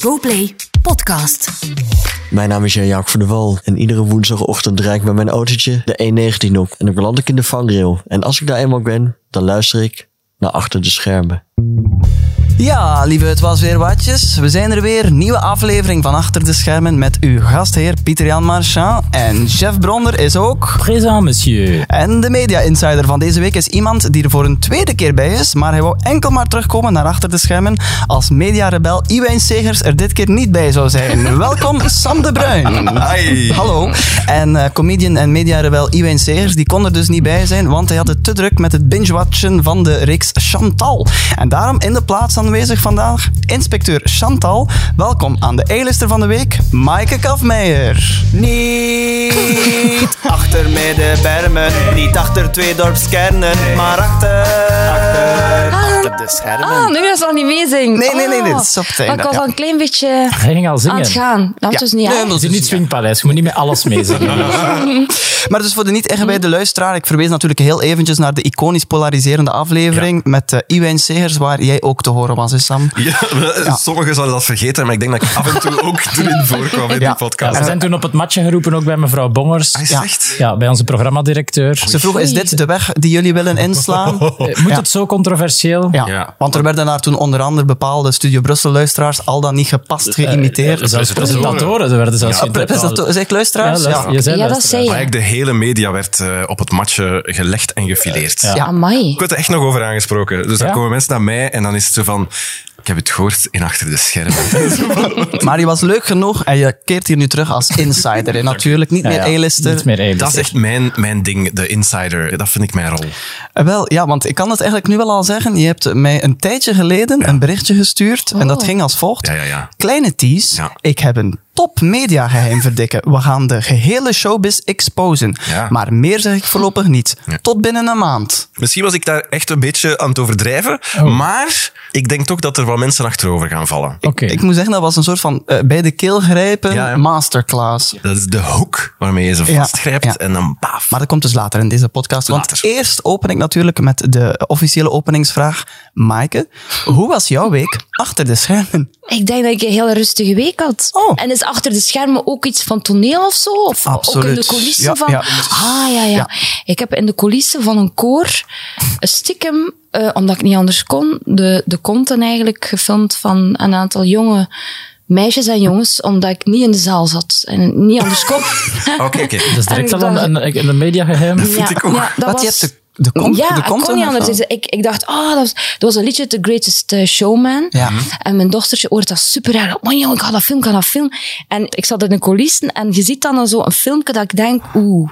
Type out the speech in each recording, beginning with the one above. GoPlay Podcast. Mijn naam is Jan-Jaak van der Wal en iedere woensdagochtend rijd ik met mijn autootje de E19 op en dan beland ik in de vangrail. En als ik daar eenmaal ben, dan luister ik naar achter de schermen. Ja, lieve het was weer watjes. We zijn er weer. Nieuwe aflevering van Achter de Schermen met uw gastheer Pieter-Jan Marchand. En Jeff Bronder is ook. Présent, monsieur. En de media insider van deze week is iemand die er voor een tweede keer bij is, maar hij wou enkel maar terugkomen naar Achter de Schermen als mediarebel Iwijn Segers er dit keer niet bij zou zijn. Welkom Sam de Bruin. Hallo. En eh, comedian en mediarebel Iwijn Segers, die kon er dus niet bij zijn, want hij had het te druk met het binge-watchen van de reeks Chantal. En daarom in de plaats aanwezig vandaag inspecteur Chantal. Welkom aan de A-lister van de week, Maaike Kafmeijer. Niet achter middenbermen, niet achter twee dorpskernen, maar achter, achter, de schermen. Ah, nu is dat niet meezing. Nee, nee, nee, nee, Ah. dat is op het einde, Maar ik was ja. al een klein beetje Hij ging al aan zingen. het gaan. Dat is dus niet Nee, aan. maar- Het is niet Swingpaleis, je moet niet met alles meezingen. Maar dus voor de niet-ingewijde luisteraar, ik verwees natuurlijk heel eventjes naar de iconisch polariserende aflevering met eh Iwijn Segers, waar jij ook te horen was, hè, Sam? Ja, sommigen zouden dat vergeten, maar ik denk dat ik af en toe ook erin voorkwam in die podcast. Ja, we zijn toen op het matje geroepen, ook bij mevrouw Bongers. is ja. echt? ja, bij onze programmadirecteur. Ze vroeg, is dit de weg die jullie willen inslaan? Eh, Moet het zo controversieel? Ja. Ja. want er werden daar toen onder andere bepaalde Studio Brussel-luisteraars al dan niet gepast geïmiteerd. Eh, Zelfs presentatoren ze werden zelfs Ah, pre- is dat- Zeg ik luisteraars? Ja, luister- Ja. je zei Ja, dat luisteraar. zei Maar je. eigenlijk de hele media werd eh, op het matje gelegd en gefileerd. Ja. Amai. Ik werd er echt nog over aangesproken. Dus dan Ja? komen mensen naar mij en dan is het zo van... Ik heb het gehoord in achter de schermen. Maar je was leuk genoeg en je keert hier nu terug als insider. hè, natuurlijk, niet Ja, ja. meer A-lister. Niet meer A-lister. Dat is echt mijn, mijn ding, de insider. Dat vind ik mijn rol. Eh, Wel, ja, want ik kan het eigenlijk nu wel al zeggen. Je hebt mij een tijdje geleden een berichtje gestuurd. En dat ging als volgt. Ja, ja, ja. Kleine tease. Ja. Ik heb een top media geheim verdikken. We gaan de gehele showbiz exposen. Ja. Maar meer zeg ik voorlopig niet. Ja. Tot binnen een maand. Misschien was ik daar echt een beetje aan het overdrijven. Maar ik denk toch dat er wel mensen achterover gaan vallen. Oké. Ik moet zeggen, dat was een soort van eh, bij de keel grijpen Ja, ja. masterclass. Dat is de hoek waarmee je ze Ja, vastgrijpt ja. en dan baaf. Maar dat komt dus later in deze podcast. Want Later. eerst open ik natuurlijk met de officiële openingsvraag. Maaike, hoe was jouw week achter de schermen? Ik denk dat ik een heel rustige week had. Oh. En is achter de schermen ook iets van toneel of zo? Of Absoluut. ook in de coulissen Ja, van... ja. Ah, ja, ja, Ja. Ik heb in de coulissen van een koor een stiekem, eh, omdat ik niet anders kon, de, de konten eigenlijk gefilmd van een aantal jonge meisjes en jongens, omdat ik niet in de zaal zat en niet anders kon. Oké, oké. Dat is direct En ik al een, dacht- een, een mediageheim. ja, ik ook. ja, dat Wat, je was- hebt de- de kom- Ja, de ik komt kon niet ervan. anders. Dus ik, ik dacht, oh, dat was, dat was een liedje, The Greatest eh, Showman. Ja. En mijn dochtertje hoort dat super raar. Man, jongen, ik ga dat film, ik ga dat film. En ik zat in de coulissen en je ziet dan zo een filmpje dat ik denk, oeh.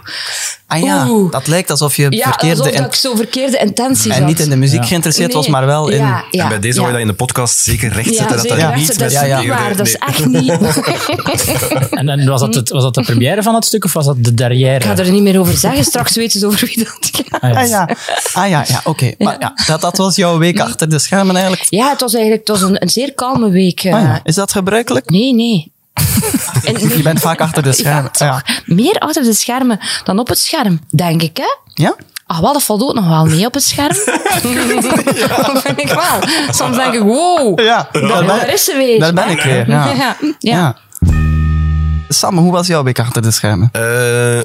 Ah ja, Oeh. dat lijkt alsof je Ja, verkeerde... alsof en- dat ik zo verkeerde intentie en zat. niet in de muziek geïnteresseerd was, Nee. maar wel in... Ja, ja, en bij deze ja. hoor je dat in de podcast zeker recht ja, zetten. dat zeker. dat Ja, niet dat met is ja, ja. niet waar. Dat is Nee. echt niet waar. En, en was, dat het, was dat de première van het stuk of was dat de Ik ga derrière? er niet meer over zeggen. Straks weten ze over wie dat gaat. Ah Ah, ja. ja, ah, ja, ja oké. Maar ja, dat, dat was jouw week achter de schermen eigenlijk. Ja, het was eigenlijk het was een, een zeer kalme week. eh. Ah ja, Is dat gebruikelijk? Nee, nee. En- Je bent vaak achter de schermen. Ja. meer achter de schermen dan op het scherm, denk ik, hè? ja? Ah, wel, dat valt ook nog wel mee op het scherm. Dat vind ik wel. Soms denk ik, wow, Ja, daar daar ben, is ze weer. daar ben ik weer. Ja. Ja, ja. Ja. Sam, hoe was jouw week achter de schermen? Eh,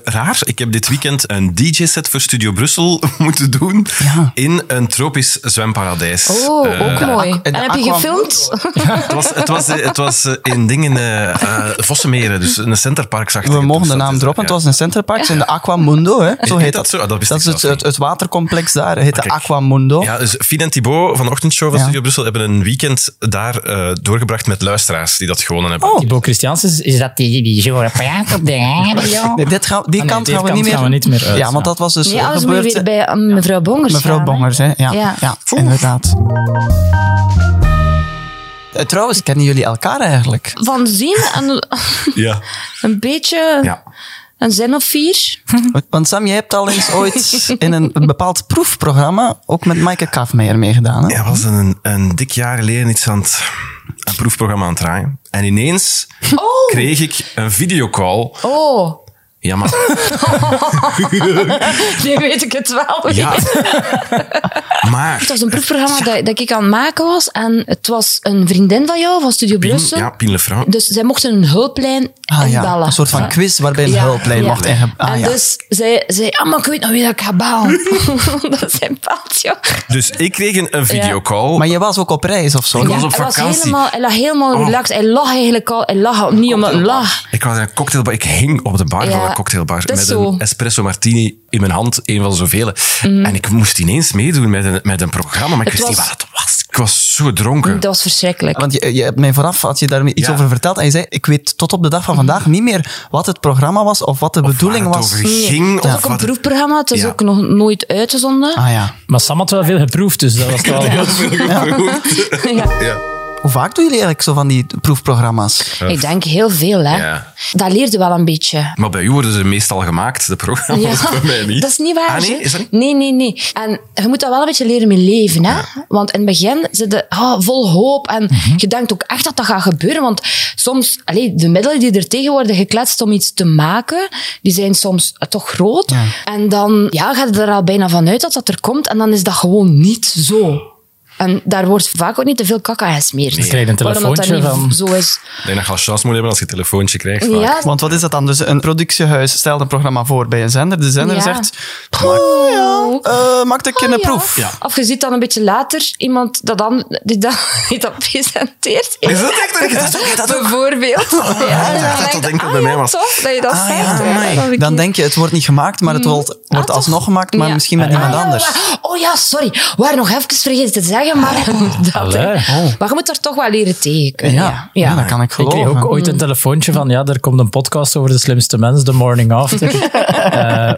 raar, ik heb dit weekend een DJ-set voor Studio Brussel moeten doen Ja. in een tropisch zwemparadijs. Oh, Eh, ook mooi. de En heb je aqua- gefilmd? het was, het was, eh, het was eh, in dingen, eh eh, Vossenmeren, dus een centerpark zag dus We mogen de naam droppen. Het was een centerpark in de Aquamundo. Hè? Zo heet heet dat dat. zo? Ah, dat wist ik is het, zelfs niet. het, het watercomplex daar. heet de kijk. Aquamundo. Ja, dus Fien en Thibaut van de ochtendshow van Ja. Studio Brussel hebben een weekend daar eh, doorgebracht met luisteraars die dat gewonnen hebben. Oh. Die Bo Christiansen, is dat die, die Joren Praat op de radio? Nee, dit gaan, die Ah, nee, kant die gaan we kant niet meer. gaan we niet meer uit, ja, want ja. dat was dus Nee, eh, alles moet je gebeurd. weer bij eh, mevrouw Bongers Mevrouw gaan, hè. Bongers, hè? Ja, ja. Ja. inderdaad. Eh, Trouwens, kennen jullie elkaar eigenlijk? Van zien en Ja. een beetje Ja. een zin of vier. Want Sam, jij hebt al eens ooit in een bepaald proefprogramma ook met Maaike Kafmeijer meegedaan. Hè? Ja, was een, een dik jaar geleden iets aan het een proefprogramma aan het draaien. En ineens kreeg ik een videocall. Oh, Ja, maar... Nu weet ik het wel. Ja. maar... Het was een proefprogramma dat, dat ik aan het maken was. En het was een vriendin van jou, van Studio Pien, Brussel. ja, Pien Lefranc. Dus zij mochten een hulplijn Ah ja, inbellen. een soort van quiz waarbij een Ja, hulplijn ja. wordt inge... Ah en ja. dus zij zei, ah, maar ik weet nog wie dat ik ga bellen. dat is een paaltje. Dus ik kreeg een, een videocall. Maar je was ook op Oh. reis of zo? Ik was Ja, op hij was vakantie. helemaal, hij lag helemaal relaxed. Hij lag eigenlijk al. Hij lag niet omdat hij lag. Ik was in een cocktailbar. Ik hing op de bar Ja, van een cocktailbar dat met is zo. Mm. een espresso martini in mijn hand, een van zoveel. En ik moest ineens meedoen met een, met een programma, maar ik Het wist niet was- wat het was. Ik was zo dronken. Dat was verschrikkelijk. Want je, je hebt mij vooraf had je daar iets Ja. over verteld en je zei, ik weet tot op de dag van vandaag niet meer wat het programma was of wat de bedoeling waar het was. over ging. het was of ook een wat- proefprogramma. Het is Ja. ook nog nooit uitgezonden. Ah ja. Maar Sam had wel veel geproefd, dus dat was wel... Hoe vaak doen jullie eigenlijk zo van die proefprogramma's? Ik denk heel veel, hè. Ja. Dat leerde wel een beetje. Maar bij u worden ze meestal gemaakt, de programma's. Bij mij niet. Dat is niet waar. Ah, nee? hè. Is dat niet? Nee, nee, nee. En je moet dat wel een beetje leren mee leven. Hè? Want in het begin zit je ah, vol hoop. En je denkt ook echt dat dat gaat gebeuren. Want soms, allee, de middelen die er tegen worden gekletst om iets te maken, die zijn soms eh, toch groot. En dan ja, gaat je er al bijna van uit dat dat er komt. En dan is dat gewoon niet zo. En daar wordt vaak ook niet te veel kaka gesmeerd. Ik krijg een Waarom dat telefoontje dat van- niet zo is. Ik denk dat je wel chance moet hebben als je een telefoontje krijgt. vaak. Ja, Want wat is dat dan? Dus een productiehuis stelt een programma voor bij een zender. De zender Ja. zegt, oh ja, eh, maak ik een Ah, ja. proef. Of je ziet dan een beetje later iemand dat dan, die, dat, die dat presenteert. Is dat echt? Ik dacht, oké, dat ook. Oh, Bijvoorbeeld. Ja, ik dacht dat dat enkel bij mij was. Toch, dat je dat Ah, zegt. ja, Ja, amai. dat heb ik Dan niet. denk je, het wordt niet gemaakt, maar het wordt, wordt Mm. Ah, toch? alsnog gemaakt, maar Ja. misschien met iemand Ah, ja, anders. wa- Oh ja, sorry. We waren nog even vergeten te zeggen, maar... dat, hè. Allee. Maar je moet daar toch wel leren tegen. oh. Ja, ja, dat kan ik Ik geloven. kreeg ook ooit een telefoontje van, ja, er komt een podcast over de slimste mens, The Morning After. Eh,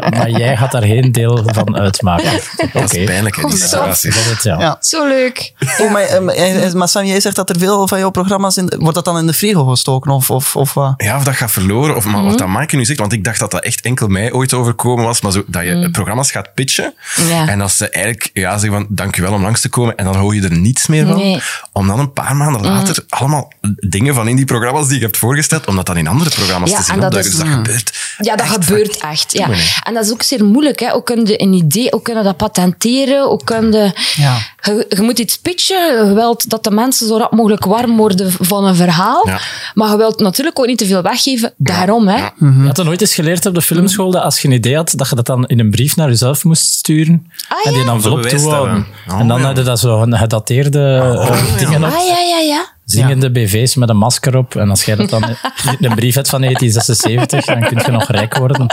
maar jij gaat daar geen deel van uitmaken. Oké. Dat is pijnlijk, hè, die Zo. situatie. Dat is het, ja. Ja. Zo leuk. Oh, maar, ehm, eh, maar Sam, jij zegt dat er veel van jouw programma's in... Wordt dat dan in de frigo gestoken of, of, of wat? Ja, of dat gaat verloren. Of Mhm. maar wat dat Maaike nu zegt, want ik dacht dat dat echt enkel mij ooit overkomen was. Maar zo, dat je programma's gaat pitchen. Mhm. Ja. En dat ze eigenlijk ja, zeggen van, dankjewel om langs te komen. En dan hoor je er niets meer van. Nee. Mhm. Om dan een paar maanden later allemaal dingen van in die programma's die je hebt voorgesteld, om dat dan in andere programma's Ja, te zien en dat opduiken. is- Mhm. Dus dat gebeurt. Ja, dat echt gebeurt vaak. echt. Ja. Doe maar niet. En dat is ook zeer moeilijk. Hè. Hoe kun je een idee, hoe kun je dat patenteren? Hoe kun je... Ja. Je, je moet iets pitchen. Je wilt dat de mensen zo rap mogelijk warm worden van een verhaal. Ja. Maar je wilt natuurlijk ook niet te veel weggeven. Daarom, hè. Je had dan ooit eens geleerd op de filmschool dat als je een idee had, dat je dat dan in een brief naar jezelf moest sturen. Ah, en die ja. dan envelop Zo bewijs toehouden. hebben. Oh, en dan ja. Oh, hadden je dat zo'n gedateerde eh, dingen op. Ah, ja, ja, ja. Zingende BV's met een masker op. En als jij dat dan in een brief hebt van 1976, dan kun je nog rijk worden.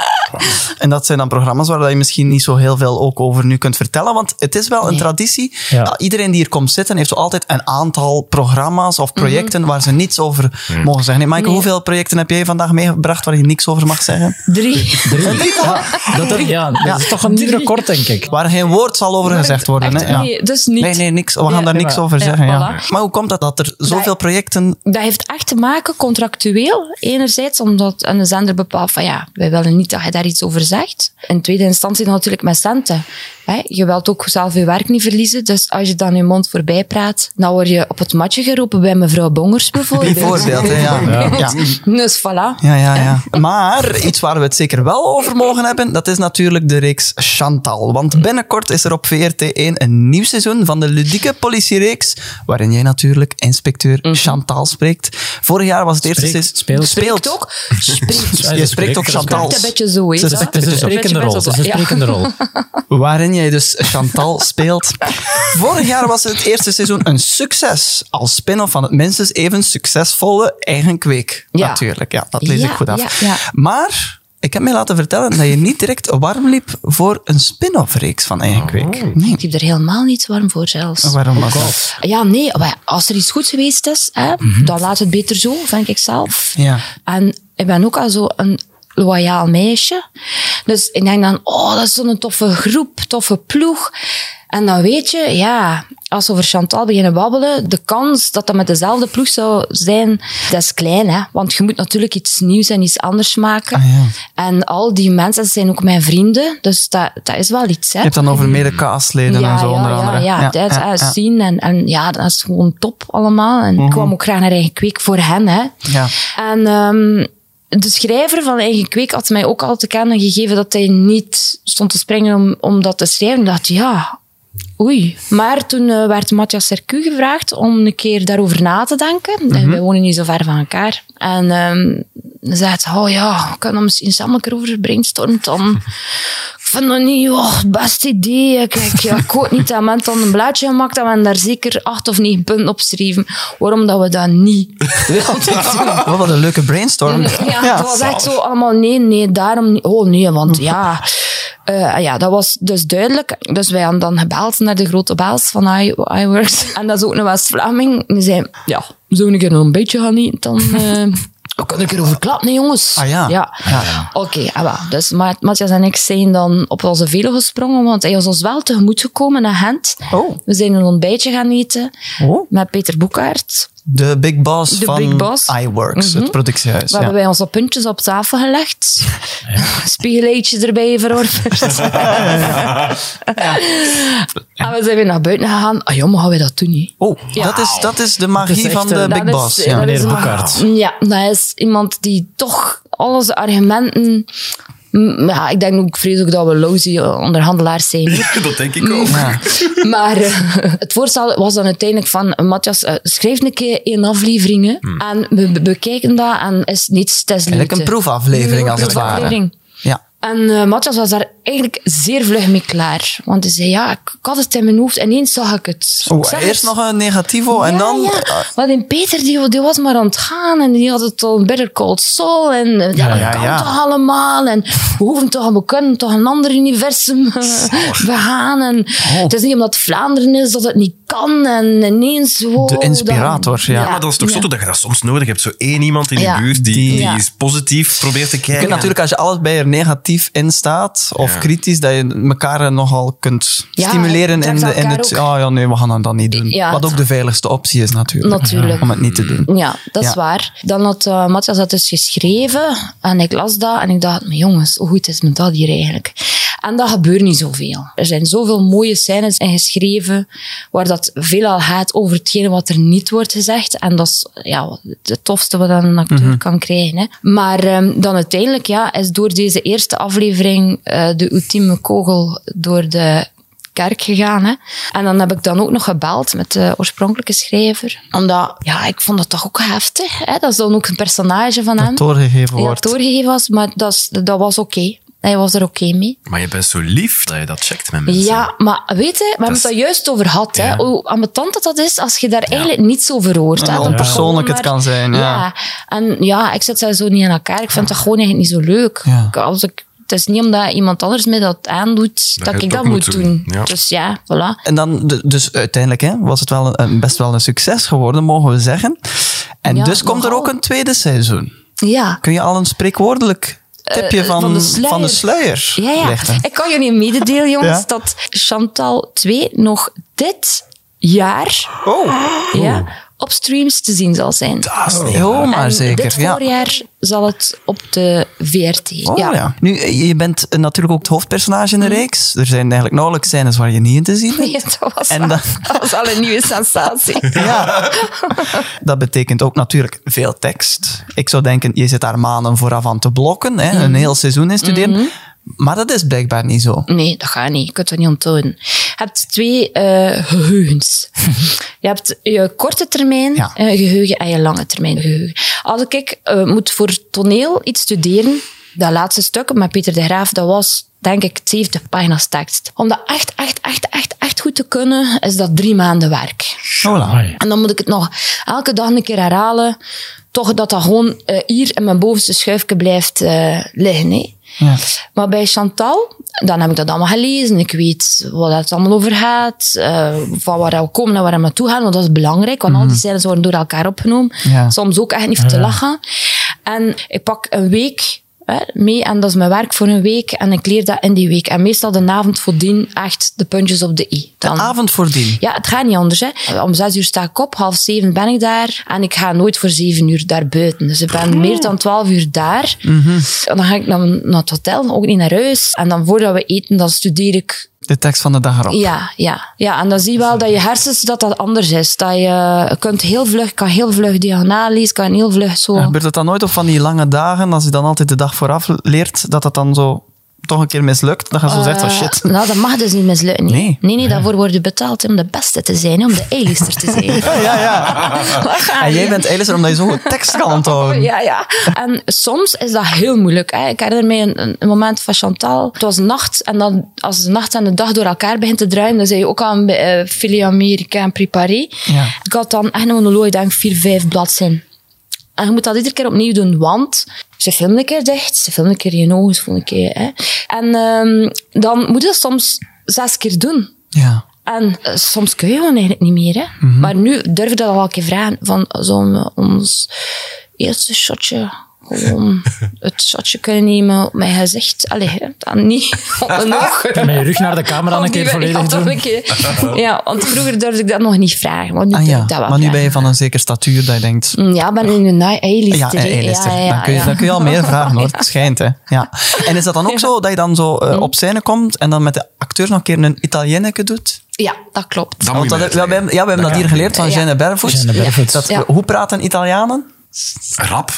En dat zijn dan programma's waar je misschien niet zo heel veel ook over nu kunt vertellen. Want het is wel een traditie. Ja. dat Iedereen die hier komt zitten heeft zo altijd een aantal programma's of projecten Mhm. waar ze niets over mogen zeggen. Nee, Maaike, hoeveel projecten heb jij vandaag meegebracht waar je niks over mag zeggen? Drie. Drie. Ja, dat, dat- ja, dat is toch een nieuw record, denk ik. Waar geen woord zal over gezegd worden. Echt Hè? Ja. niet, dus niet. Nee, nee, niks. We gaan Ja, daar niks maar- over ja, zeggen. Ja, voilà. Maar hoe komt dat dat er zoveel Dat- projecten... Dat heeft echt te maken contractueel. Enerzijds omdat een zender bepaalt van ja, wij willen niet dat je daar iets over zegt. In tweede instantie dan natuurlijk met centen. Hè, Je wilt ook zelf je werk niet verliezen. Dus als je dan je mond voorbij praat, dan word je op het matje geroepen bij mevrouw Bongers bijvoorbeeld. Bijvoorbeeld, hè, ja. Ja. Ja. Dus voilà. Ja, ja, ja. Maar iets waar we het zeker wel over mogen hebben, dat is natuurlijk de reeks Chantal. Want binnenkort is er op VRT1 een nieuw seizoen van de ludieke politiereeks, waarin jij natuurlijk inspecteur Mhm. Chantal spreekt. Vorig jaar was het eerste Spreekt, seizoen... speelt. Spreekt ook. Spreekt. Ja, Je ze spreekt ook spreken, dat Chantal. Spreekt een beetje zo, hè. Ze Ja. spreekt Het is een Beetje sprekende rol. Het is een ja. sprekende rol. Waarin jij dus Chantal speelt. Vorig jaar was het eerste seizoen een succes. Als spin-off van het minstens even succesvolle eigen kweek. Ja. Natuurlijk, ja, dat lees Ja, ik goed af. ja, ja. Maar ik heb mij laten vertellen dat je niet direct warm liep voor een spin-off reeks van eigen kweek. Nee. Ik liep er helemaal niet warm voor zelfs. Waarom was dat? Ja, nee, maar als er iets goeds geweest is, hè, dan laat het beter zo, vind ik zelf. Mhm. Ja. En ik ben ook al zo een loyaal meisje. Dus ik denk dan, oh, dat is zo'n toffe groep, toffe ploeg. En dan weet je, ja, als we over Chantal beginnen babbelen, de kans dat dat met dezelfde ploeg zou zijn, dat is klein, hè. Want je moet natuurlijk iets nieuws en iets anders maken. Ah, ja. En al die mensen dat zijn ook mijn vrienden, dus dat, dat is wel iets, hè. Je hebt dan over mede castleden en zo onder andere. Ja, ja, dat ja, eh, zien. En, en ja, dat is Mhm. gewoon top allemaal. En ik kwam ook graag naar eigen kweek voor hen. Hè. ja. En ehm, de schrijver van Eigen Kweek had mij ook altijd aan gegeven dat hij niet stond te springen om, om dat te schrijven. Ik dacht, ja, oei. Maar toen eh, werd Matthias Sercu gevraagd om een keer daarover na te denken. En wij wonen niet zo ver van elkaar. En ehm dan zei hij, oh ja, ik kan dan misschien samen erover brainstormen. Dan, ik vind dat niet oh, het beste idee. Kijk, ja, ik hoop niet dat men dan een blaadje gemaakt hebben en daar zeker acht of negen punten op schrijven. Waarom dat we dat niet Oh, wat een leuke brainstorm. ja, het was echt zo allemaal nee, nee, daarom niet. Oh nee, want ja. Eh, ja, dat was dus duidelijk. Dus wij hadden dan gebeld naar de grote baas van I- iWorks. En dat is ook een West-Vlaming. En die zei, ja, zo een keer nog een beetje gaan niet, dan... eh dan kan ik erover klappen, hè, jongens. Ah, ja. ja. Oké, ah, wel. dus Ma- Matthias en ik zijn dan op onze velo gesprongen, want hij was ons wel tegemoet gekomen naar Gent. Oh. We zijn een ontbijtje gaan eten Oh. met Peter Boekaert. De Big Boss De van Big Boss. iWorks, het productiehuis. Waar Dus Ja. hebben wij onze puntjes op tafel gelegd. Spiegeleetje erbij verorberd. En we zijn weer naar buiten gegaan. Ah joh, maar gaan wij dat doen niet? Oh, dat, is, dat is eh, de magie Dat is echt van de een- Big Dat is- eh, Boss. dat Ja. Meneer is een- Boekaert. Ja, dat is iemand die toch al onze argumenten... Mm, Ja, ik denk ook, vrees ook dat we lousy eh, onderhandelaars zijn. dat denk ik ook. Maar eh, het voorstel was dan uiteindelijk van... eh, Matthias, eh, schrijf een keer één aflevering. hè. En we be- bekijken dat en is niets, het is Hmm. Eigenlijk een liefde. proefaflevering als het ware. Proefaflevering. Ja. En eh, Matthias was daar eigenlijk zeer vlug mee klaar. Want hij zei, ja, ik had het in mijn hoofd. En ineens zag ik het. Ik Oh, zag eerst het. nog een negativo en Ja, dan... eh, Ah. Ja. Want in Peter, die, die was maar aan het gaan. En die had het al een Better Cold Soul. En eh, ja, dat ja, kan ja. toch allemaal. En we hoeven toch, we kunnen toch een ander universum eh, begaan. En Oh. Het is niet omdat Vlaanderen is dat het niet kan. En ineens... wow, De inspirator, dan- ja. Ja, maar dat is toch ja. zo dat je dat soms nodig hebt. Zo één iemand in Ja. de buurt die, die Ja. is positief probeert te Je kijken. kunt natuurlijk, als je allebei er negatief in staat, of Ja. kritisch, dat je elkaar eh, nogal kunt Ja, stimuleren trekt in, de, in elkaar het... ook. Oh ja, nee, we gaan dat niet doen. Ja, Wat het- ook de veiligste optie is natuurlijk. Natuurlijk. Mm, Om het niet te doen. Ja, dat is Ja. waar. Dan had eh, Matthias dat dus geschreven en ik las dat en ik dacht, maar jongens, hoe goed is me dat hier eigenlijk? En dat gebeurt niet zoveel. Er zijn zoveel mooie scènes in geschreven waar dat veelal gaat over hetgene wat er niet wordt gezegd. En dat is ja, het tofste wat een acteur kan krijgen. Hè. Maar ehm, dan uiteindelijk ja, is door deze eerste aflevering eh, de ultieme kogel door de kerk gegaan. Hè. En dan heb ik dan ook nog gebeld met de oorspronkelijke schrijver. Omdat, ja, ik vond dat toch ook heftig. Hè. Dat is dan ook een personage van hem. Dat doorgegeven Ja, wordt. doorgegeven was, maar dat, is- dat was oké. Hij was er oké mee. Maar je bent zo lief dat je dat checkt met mensen. Ja, maar weet je, we hebben het daar juist over gehad. Hè? Hoe ambetant dat dat is als je daar eigenlijk niets over hoort. hè. hoe Dat dat onpersoonlijk gewoon het kan zijn, ja. En ja, ik zit daar zo niet in elkaar. Ik vind dat gewoon eigenlijk niet zo leuk. Ja. Ik- Als ik, het is niet omdat iemand anders mij dat aandoet, dat, je ik het dat ook moet moet doen. doen, ja. Dus ja, voilà. En dan, d- dus uiteindelijk hè, was het wel een- een, best wel een succes geworden, mogen we zeggen. En Ja, dus komt er nogal. ook een tweede seizoen. Ja. Kun je al een spreekwoordelijk tipje van, Eh, van de sluier. van de sluier Ja, ja. lichten? Ik kan jullie mededelen, jongens, Ja. dat Chantal 2 nog dit jaar Oh, ja, op streams te zien zal zijn. heel maar En zeker. Dit Ja. voorjaar zal het op de VRT. Oh, ja. Nu, eh, je bent eh, natuurlijk ook het hoofdpersonage Mhm. in de reeks. Er zijn eigenlijk nauwelijks scènes waar je niet in te zien bent. Nee, dat was, En al, dan- dat was al een nieuwe sensatie. Ja. Dat betekent ook natuurlijk veel tekst. Ik zou denken, je zit daar maanden vooraf aan te blokken, hè, Mhm. een heel seizoen in studeren. Maar dat is blijkbaar niet zo. Nee, dat gaat niet. Je kunt dat niet onthouden. Je hebt twee eh, geheugens. je hebt je korte termijn Ja. eh, geheugen en je lange termijn geheugen. Als ik eh, moet voor toneel iets studeren, dat laatste stuk met Pieter de Graaf, dat was denk ik 70 pagina's tekst. Om dat echt, echt, echt, echt, echt goed te kunnen, is dat drie maanden werk. Amai. En dan moet ik het nog elke dag een keer herhalen. Toch dat dat gewoon eh, hier in mijn bovenste schuifje blijft eh, liggen. Hè. Maar bij Chantal, dan heb ik dat allemaal gelezen. Ik weet wat het allemaal over gaat. eh, van waar we komen en waar we naartoe gaan. Want dat is belangrijk. Want al die scènes worden door elkaar opgenomen. Mhm. Ja. Soms ook echt niet voor te lachen. En ik pak een week hè, mee. En dat is mijn werk voor een week. En ik leer dat in die week. En meestal de avond voordien echt de puntjes op de i. Dan, De avond voordien. ja, het gaat niet anders. Hè. Om zes uur sta ik op, half zeven ben ik daar. En ik ga nooit voor zeven uur daar buiten. Dus ik Oh. ben meer dan twaalf uur Mhm. daar. En dan ga ik naar, naar het hotel, ook niet naar huis. En dan voordat we eten, dan studeer ik De tekst van de dag erop. Ja, ja. ja, en dan zie je wel dat je hersens dat dat anders is. Dat je kunt heel vlug, kan heel vlug diagonaal lezen, kan heel vlug zo. En Gebeurt dat dan nooit op van die lange dagen, als je dan altijd de dag vooraf leert, dat dat dan zo toch een keer mislukt? Dat je zo zegt van Eh, shit. nou, dat mag dus niet mislukken. niet? Nee. Nee, nee, daarvoor word je betaald om de beste te zijn, om de eilister te zijn. Ja, ja. Waar ga En jij je? bent Eilister omdat je zo'n goed tekst kan onthouden. Oh, Ja, ja. En soms is dat heel moeilijk. Hè. Ik herinner mij een, een moment van Chantal. Het was nacht en dan, als de nacht en de dag door elkaar begint te druimen, dan zei je ook aan uh, Filie Amerika en Préparé. Ja. Ik had dan echt een monoloog, ik denk vier, vijf bladzijden. En je moet dat iedere keer opnieuw doen, want ze filmen een keer dicht, ze filmen een keer je ogen, ze filmen een keer... Hè. En ehm, dan moet je dat soms zes keer doen. Ja. En eh, soms kun je gewoon eigenlijk niet meer. Hè? Mhm. Maar nu durf ik dat al een keer vragen. Van zo'n eh, ons eerste shotje. Gewoon het shotje kunnen nemen op mijn gezicht. Allee, hè, dan niet op mijn oog. Met je rug naar de camera een Of die keer wil ik volledig altijd doen. een keer- Ja, want vroeger durfde ik dat nog niet vragen. Maar nu Ah durf ja, ik dat wel maar nu ben vragen. je van een zeker statuur dat je denkt... Mm, Ja, ik ben in een naai Ja, A-lister. en hè. A-lister. Ja, ja, dan, kun je, ja. dan kun je al meer vragen hoor. Het schijnt hè. Ja. En is dat dan ook zo dat je dan zo Hm. eh, op scène komt en dan met de acteurs nog een keer een Italiëneke doet? Ja, dat klopt. Dan Want moet je dat, mij ja, we hebben, ja, we hebben dat, kan. hier geleerd van Ja. Jeanne Bervoet. Jeanne Bervoet. Dat, Ja. Hoe praten Italianen? Rap.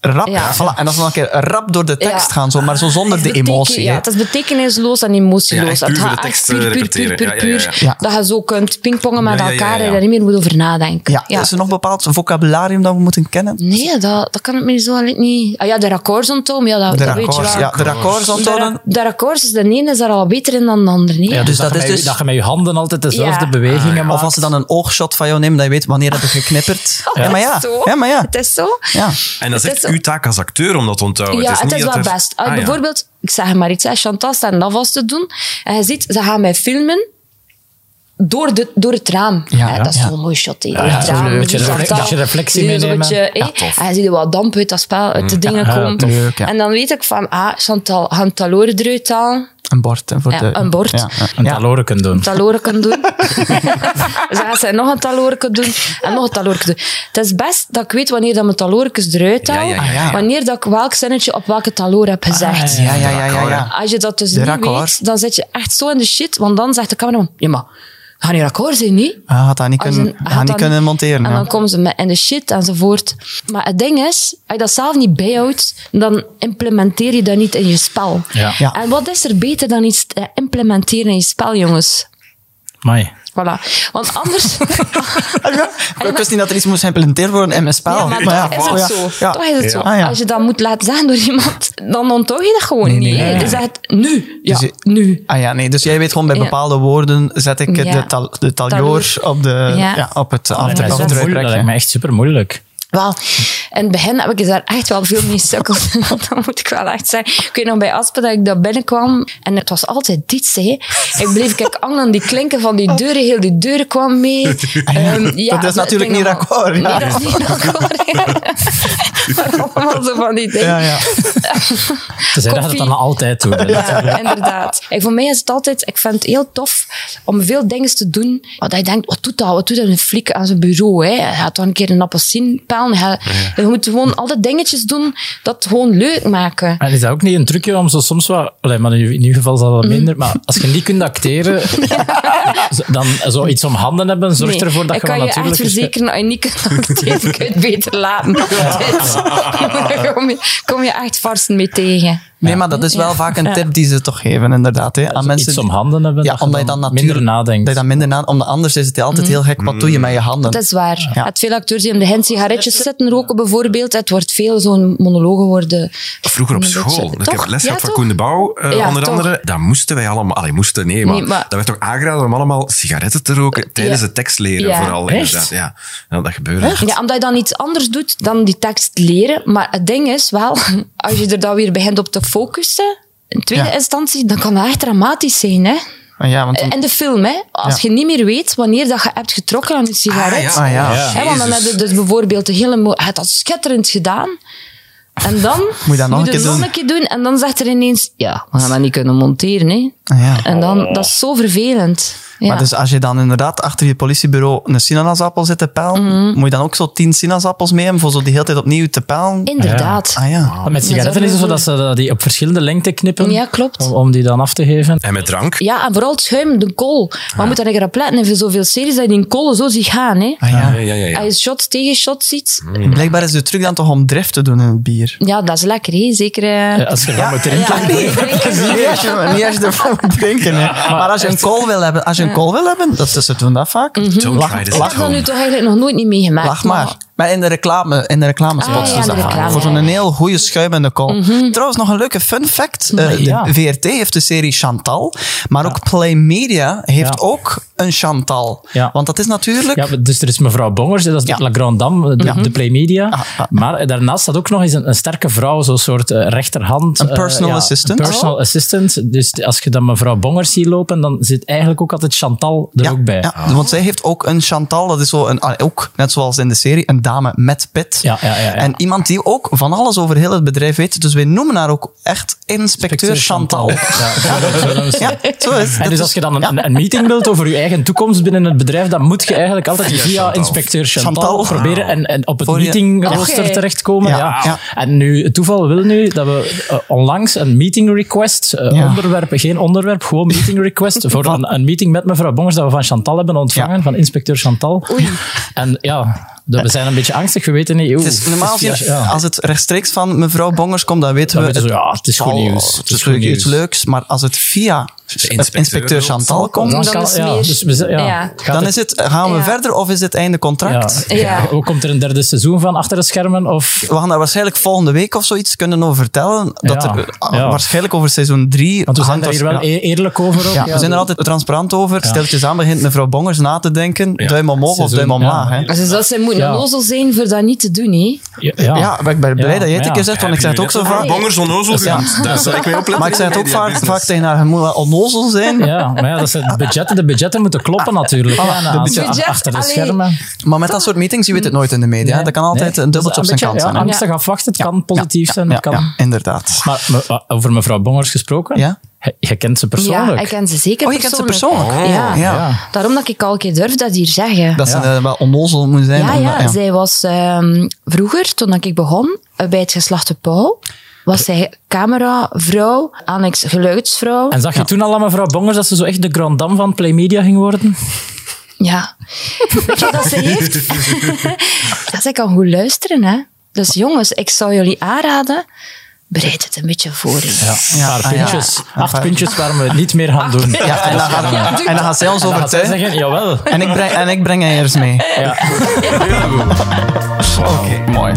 Rap. Ja. Voilà. En dat ze dan een keer rap door de tekst Ja. gaan, zo, maar zo zonder de Beteken- emotie. Ja, hè. het is betekenisloos en Ja, emotieloos. echt puur het voor gaat de echt tekst, puur, eh, puur, puur, repeteren. puur, Ja, puur. ja, ja, Dat je zo kunt pingpongen met Ja, ja, ja, elkaar en ja. daar niet meer moet over nadenken. Ja, Is er nog bepaald vocabularium dat we moeten kennen? Nee, dat, dat kan ik me zo eigenlijk niet... Ah ja, de raccords onthouden, ja, dat, De dat weet je raccords. wel. Ja, de raccords De ra- onthouden. De raccords is de ene is daar al beter in dan de andere. Nee? Ja, dus dat dat, je is met, dus- je- dat je met je handen altijd dezelfde Ja. bewegingen maakt. Of als ze dan een oogshot van jou nemen, dat je weet wanneer heb ik geknipperd. Ja, maar ja. Zo. ja, maar ja. Het is zo. ja. En dat is Het echt is- uw taak als acteur om dat te Ja, onthouden. Oh, het is, het niet is dat wel er- best. Als Ah, ja. bijvoorbeeld, ik zeg maar iets, hè, Chantal staat een afwas te doen en je ziet, ze gaan mij filmen door, de, door het raam. Ja, Hè, ja, dat is ja. wel een mooi shot. hè, door ja, het zo'n raam. beetje Dus reflect- Chantal, dat je reflectie die zo'n meenemen. beetje, hè, en je ziet wel damp uit dat spel, uit de dingen Ja, komt. leuk, ja. En dan weet ik van, ah, Chantal, gaan taloren eruit halen. Een bord. hè, voor Ja, de, een bord. Ja, ja. Een taloren kunnen doen. taloren kan doen. dus dan gaan ze nog een taloren kunnen doen en nog een taloren kunnen doen. Het is best dat ik weet wanneer dat mijn taloorkes eruit haal, Ja, ja, ja, ja. wanneer dat ik welk zinnetje op welke taloor heb gezegd. Ah, Ja, ja, ja, ja, ja. Als je dat dus De niet raccord. weet, dan zit je echt zo in de shit, want dan zegt de cameraman, ja maar, ga je akkoord zijn, niet? Ah, had dat niet Als kunnen, een- had had niet dan- kunnen monteren. En ja. dan komen ze met in de shit enzovoort. Maar het ding is, als je dat zelf niet bijhoudt, dan implementeer je dat niet in je spel. Ja. Ja. En wat is er beter dan iets te implementeren in je spel, jongens? Amai. Voilà. Want anders... Ik wist niet dat er iets moest geïmplementeerd worden in mijn spel. Ja, maar, ja, oh toch is het ja, zo. ja. Toch is het zo. Ah, ja. Als je dat moet laten zeggen door iemand, dan onthoud je dat gewoon Nee, nee, niet. nee, hè. nee. Je zegt nu. Ja, Dus je- nu. Ah ja, nee. Dus jij weet gewoon bij Ja. bepaalde woorden zet ik Ja. de, tal, de taljoor Taloor. op, de, ja. Ja. op het Dat af- lijkt mij dat is op het zo wel moeilijk. Dat lijkt uitrekenen. mij echt super moeilijk. Wel, in het begin heb ik daar echt wel veel mee sukkeld. Want dat moet ik wel echt zeggen. Ik weet nog bij Aspen dat ik daar binnenkwam. En het was altijd dit, hè. Ik bleef kijk hangen aan die klinken van die deuren. Heel die deuren kwam mee. Ehm, ja, dat is natuurlijk ging niet allemaal- akkoord, ja. Nee, dat is niet akkoord. ja. Allemaal zo van die dingen. Ja, ja. Ze zeiden dat je dat Koffie. dan altijd doet. hè. Ja, inderdaad. En voor mij is het altijd, ik vind het heel tof om veel dingen te doen. Want je denkt, wat doet dat? Wat doet dat een fliek aan zijn bureau? Hè? Hij gaat dan een keer een appelsien pellen. Hij- Je moet gewoon alle dingetjes doen dat gewoon leuk maken. En is dat ook niet een trucje om zo soms wat... Allee, maar in uw- in ieder geval is dat wat minder. Maar als je niet kunt acteren, zo- dan zo iets om handen hebben, zorgt Nee, ervoor dat ik je kan wat je echt natuurlijk... verzekeren, als je niet kunt acteren, kun je het beter laten. Dus, daar kom, je, kom je echt varsen mee tegen. Nee, maar dat is wel vaak een tip die ze toch geven, inderdaad. Hè, aan mensen Iets die- om handen hebben, Ja, dat je omdat je dan dan natuurlijk... minder nadenkt. Dat je dan minder na, omdat anders is het altijd heel gek. Wat doe je met je handen? Mm. Dat is waar. Ja. Het veel acteurs die om de hand sigaretjes zitten roken bijvoorbeeld, het wordt veel zo'n monologen worden. Vroeger op Een beetje- school, ik Toch? heb les Ja, gehad van toch? Koen de Bouw, eh, Ja, onder toch. andere. Daar moesten wij allemaal... Allee, moesten, nee, maar, Nee, maar- Dat werd toch aangeraden om allemaal sigaretten te roken tijdens het teksleren Ja. vooral. Echt? Inderdaad. Ja. ja, dat gebeurde. Ja, omdat je dan iets anders doet dan die tekst leren. Maar het ding is wel, als je er dan weer begint op te focussen, in tweede Ja. instantie, dan kan dat echt dramatisch zijn. Hè? Maar ja, want dan- In de film, hè? als Ja. je niet meer weet wanneer dat je hebt getrokken aan een sigaret. Ah, ja. Oh, Hè, want dan heb Jezus. je dus bijvoorbeeld de hele... mo- Je hebt dat schitterend gedaan. En dan je moet dat nog een keer het doen. nog een keer doen. En dan zegt er ineens, ja, we gaan dat niet kunnen monteren. Hè? Ah, ja. En dan, dat is zo vervelend. Ja. Maar dus als je dan inderdaad achter je politiebureau een sinaasappel zit te pellen, Mhm. moet je dan ook zo tien sinaasappels mee hebben voor zo die hele tijd opnieuw te pellen? Inderdaad. Ah ja. Maar Met sigaretten is het zo dat ze dat die op verschillende lengte knippen. Ja, klopt. Om, om die dan af te geven. En met drank. Ja, en vooral het schuim, de kool. Maar je moet daar een keer op letten. In zoveel series dat je die kolen zo ziet gaan. Hè. Ah, ja. Mhm. Ja, ja, ja. Als je shot tegen shot ziet, Blijkbaar is de truc dan toch om drift te doen in het bier. ja, dat is lekker. Hè. Zeker... eh, Ja, Als je dan moet drinken. ja, Niet als je, niet als je ervan moet drinken. hè. Maar als je een kool wil hebben, als je een kool wil hebben, dat is, ze doen dat vaak. Mhm. Don't try this Ik at heb dat home. nu toch eigenlijk nog nooit niet meegemaakt. Lach maar. Maar in de reclame, in de reclamespots Ah, ja, is dat de vaak. reclame, Mhm. Voor zo'n ja, ja. heel goede schuimende kool. Trouwens, nog een leuke fun fact. Eh, ja. De VRT heeft de serie Chantal, maar ook Play Media heeft Ja. ook een Chantal. Ja. Want dat is natuurlijk... Ja, dus er is mevrouw Bongers, dat is Ja. de La Grande Dame, de, de Playmedia. Ah, ah. Maar daarnaast staat ook nog eens een, een sterke vrouw, zo'n soort eh, rechterhand. Een eh, personal assistant. Oh. Een personal assistant. Dus als je dan mevrouw Bongers ziet lopen, dan zit eigenlijk ook altijd Chantal er Ja, ook bij. ja, want zij heeft ook een Chantal, dat is zo een, ah, ook net zoals in de serie, een dame met pit. Ja, ja, ja, ja. En iemand die ook van alles over heel het bedrijf weet. Dus wij noemen haar ook echt inspecteur Chantal. Ja, zo- zo- zo- zo- Ja, zo is En dat dus is- als je dan een, een- een meeting wilt over je eigen toekomst binnen het bedrijf, dan moet je eigenlijk altijd via inspecteur Chantal, Chantal. Ah. proberen en, en op het Voor je- meetingrooster Oké. terechtkomen. Ja. Ja, ja. En nu, het toeval wil nu dat we eh, onlangs een meeting request, eh, Ja. onderwerp, geen onderwerp, gewoon meeting request, voor een, een meeting met mevrouw Bongers dat we van Chantal hebben ontvangen, Ja. van inspecteur Chantal. En ja, dat- we zijn een beetje angstig, we weten niet. oeh, Het is normaal het is gezien, via- ja. als het rechtstreeks van mevrouw Bongers komt, dan weten Dan we... weten ze, ja, het is goed zal- nieuws. Het is goed iets leuks, maar als het via inspecteur, inspecteur Chantal komt, Dan dan, is kan- het ja, meer- dus we zijn- ja, ja. gaat het- is het, gaan we Ja. verder of is het einde contract? Ja. Ja. Hoe komt er een derde seizoen van achter de schermen? Of, We gaan daar waarschijnlijk volgende week of zoiets kunnen over vertellen. Dat Ja. er, ah, Ja. Waarschijnlijk over seizoen 3. want we zijn daar hier wel e- eerlijk over. Ook, Ja, we zijn er altijd transparant over. Stiltjes aan begint mevrouw Bongers na te denken. Duim omhoog of Seizoen, duim omlaag. ja. Hè? Dus dat ze moet Ja. een ozel zijn voor dat niet te doen, hè? Ja, ja. Ja, maar ik ben blij Ja, dat jij het ja. een keer zegt, want ik zeg het ook zo vaak. Bongers onnozel genoemd. Daar zal ik mee opletten. Maar ik zeg het ook Media vaak, business. vaak tegen haar, je moet wel onnozel zijn. Ja, maar ja, dat zijn de budgetten, de budgetten moeten kloppen natuurlijk. Ja, en aan- budget- aan- achter de allee. schermen. Maar met dat soort meetings, je weet het nooit in de media. Nee, dat kan altijd nee. een dubbeltje op Dus zijn kant beetje, zijn. ja, hè? angstig afwachten, het kan positief zijn. Ja, het kan. ja, inderdaad. Maar me- over mevrouw Bongers gesproken, Ja? je, je kent ze Ja, persoonlijk. ik ken ze zeker Oh, je kent ze persoonlijk. persoonlijk? Ja. Oh, ja. Ja. daarom dat ik al een keer durf dat hier zeggen. Dat ze eh, wel onnozel moet zijn. ja, omdat- ja, ja. zij was ehm, vroeger, toen dat ik begon, eh, bij het geslacht de Pauw, was zij cameravrouw, annex geluidsvrouw. En zag je toen al aan mevrouw Bongers dat ze zo echt de grand dame van Playmedia ging worden? Ja. Weet je wat dat ze heeft? ja, zij kan goed luisteren, hè. Dus jongens, ik zou jullie aanraden, bereid het een beetje voor. hè. Ja, een paar ah, ja. puntjes. Een Acht paar- puntjes waar we het niet meer gaan doen. Ja, en dan gaat, Ja, doe en dan gaat zij ons Dan gaat zij overtuigen. zeggen, jawel. En ik breng, en ik breng eiers mee. Oké, mooi.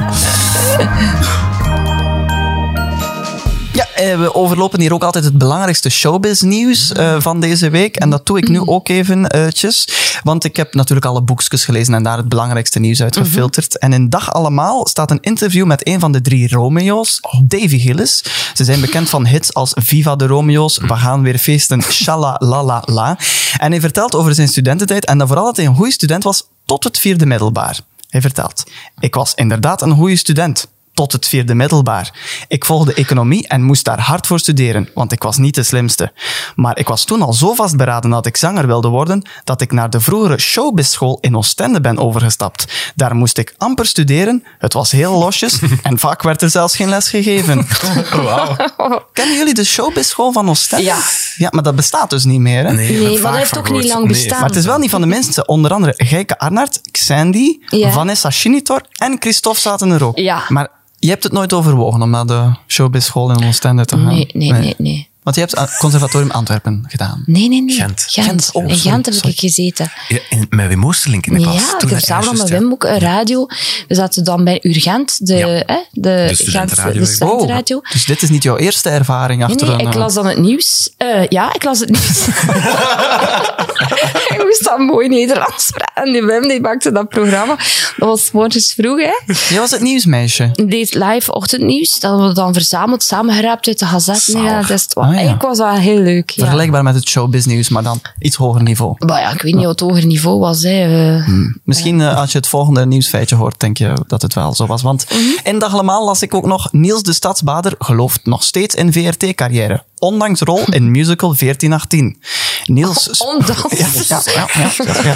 Ja, eh, we overlopen hier ook altijd het belangrijkste showbiz-nieuws eh, van deze week. En dat doe ik nu ook even, eh, tjes. Want ik heb natuurlijk alle boekjes gelezen en daar het belangrijkste nieuws uit gefilterd. En in Dag Allemaal staat een interview met een van de drie Romeo's, Davy Gillis. Ze zijn bekend van hits als Viva de Romeo's, We gaan weer feesten, Shala la la la. En hij vertelt over zijn studententijd en dan vooral dat hij een goede student was tot het vierde middelbaar. Hij vertelt, ik was inderdaad een goede student tot het vierde middelbaar. Ik volgde economie en moest daar hard voor studeren, want ik was niet de slimste. Maar ik was toen al zo vastberaden dat ik zanger wilde worden, dat ik naar de vroegere showbizschool in Oostende ben overgestapt. Daar moest ik amper studeren, het was heel losjes en vaak werd er zelfs geen les gegeven. Kennen jullie de showbizschool van Oostende? Ja. Ja, maar dat bestaat dus niet meer, hè? Nee, heb er maar dat vaak heeft van ook niet gehoord. lang Nee. bestaan. Maar Maar het is wel niet van de minste. Onder andere Geike Arnaert, Xandy, Ja. Vanessa Schinitor en Christophe zaten er ook. Ja. Maar je hebt het nooit overwogen om naar de showbizschool in Oostende te gaan? Nee, nee, nee, nee. Want je hebt aan het conservatorium Antwerpen gedaan. Nee, nee, nee. Gent. Gent. oh, in sorry, Gent heb sorry. ik gezeten. Ja, en met Wim Oosterlink in de klas. Ja, ik Toen heb dat samen ergens, met ja. Wim ook een radio. We zaten dan bij Urgent, de, Ja. hè, de, De studentenradio. Gentse- de Oh. studentenradio. Dus dit is niet jouw eerste ervaring Nee, achter nee, een... ik eh, las dan het nieuws. Eh, ja, ik las het nieuws. ik moest dan mooi Nederlands praten. En die Wim die maakte dat programma. Dat was 's morgens vroeg, hè. Jij was het nieuwsmeisje. Deed live ochtendnieuws. Dat hadden we dan verzameld, samengeraapt uit de gazetten. Ja, dat is het wel- Ah, ja. Ik was wel heel leuk. Ja. Vergelijkbaar met het showbiznieuws, maar dan iets hoger niveau. Maar ja, ik weet niet wat het hoger niveau was. Hè. Eh, Misschien eh, als je het volgende nieuwsfeitje hoort, denk je dat het wel zo was. Want in Dag Allemaal las ik ook nog Niels de Stadsbader gelooft nog steeds in VRT-carrière. Ondanks rol in musical 1418. Niels... sp- Oh, Ondanks. Ja, ja, ja, ja, ja.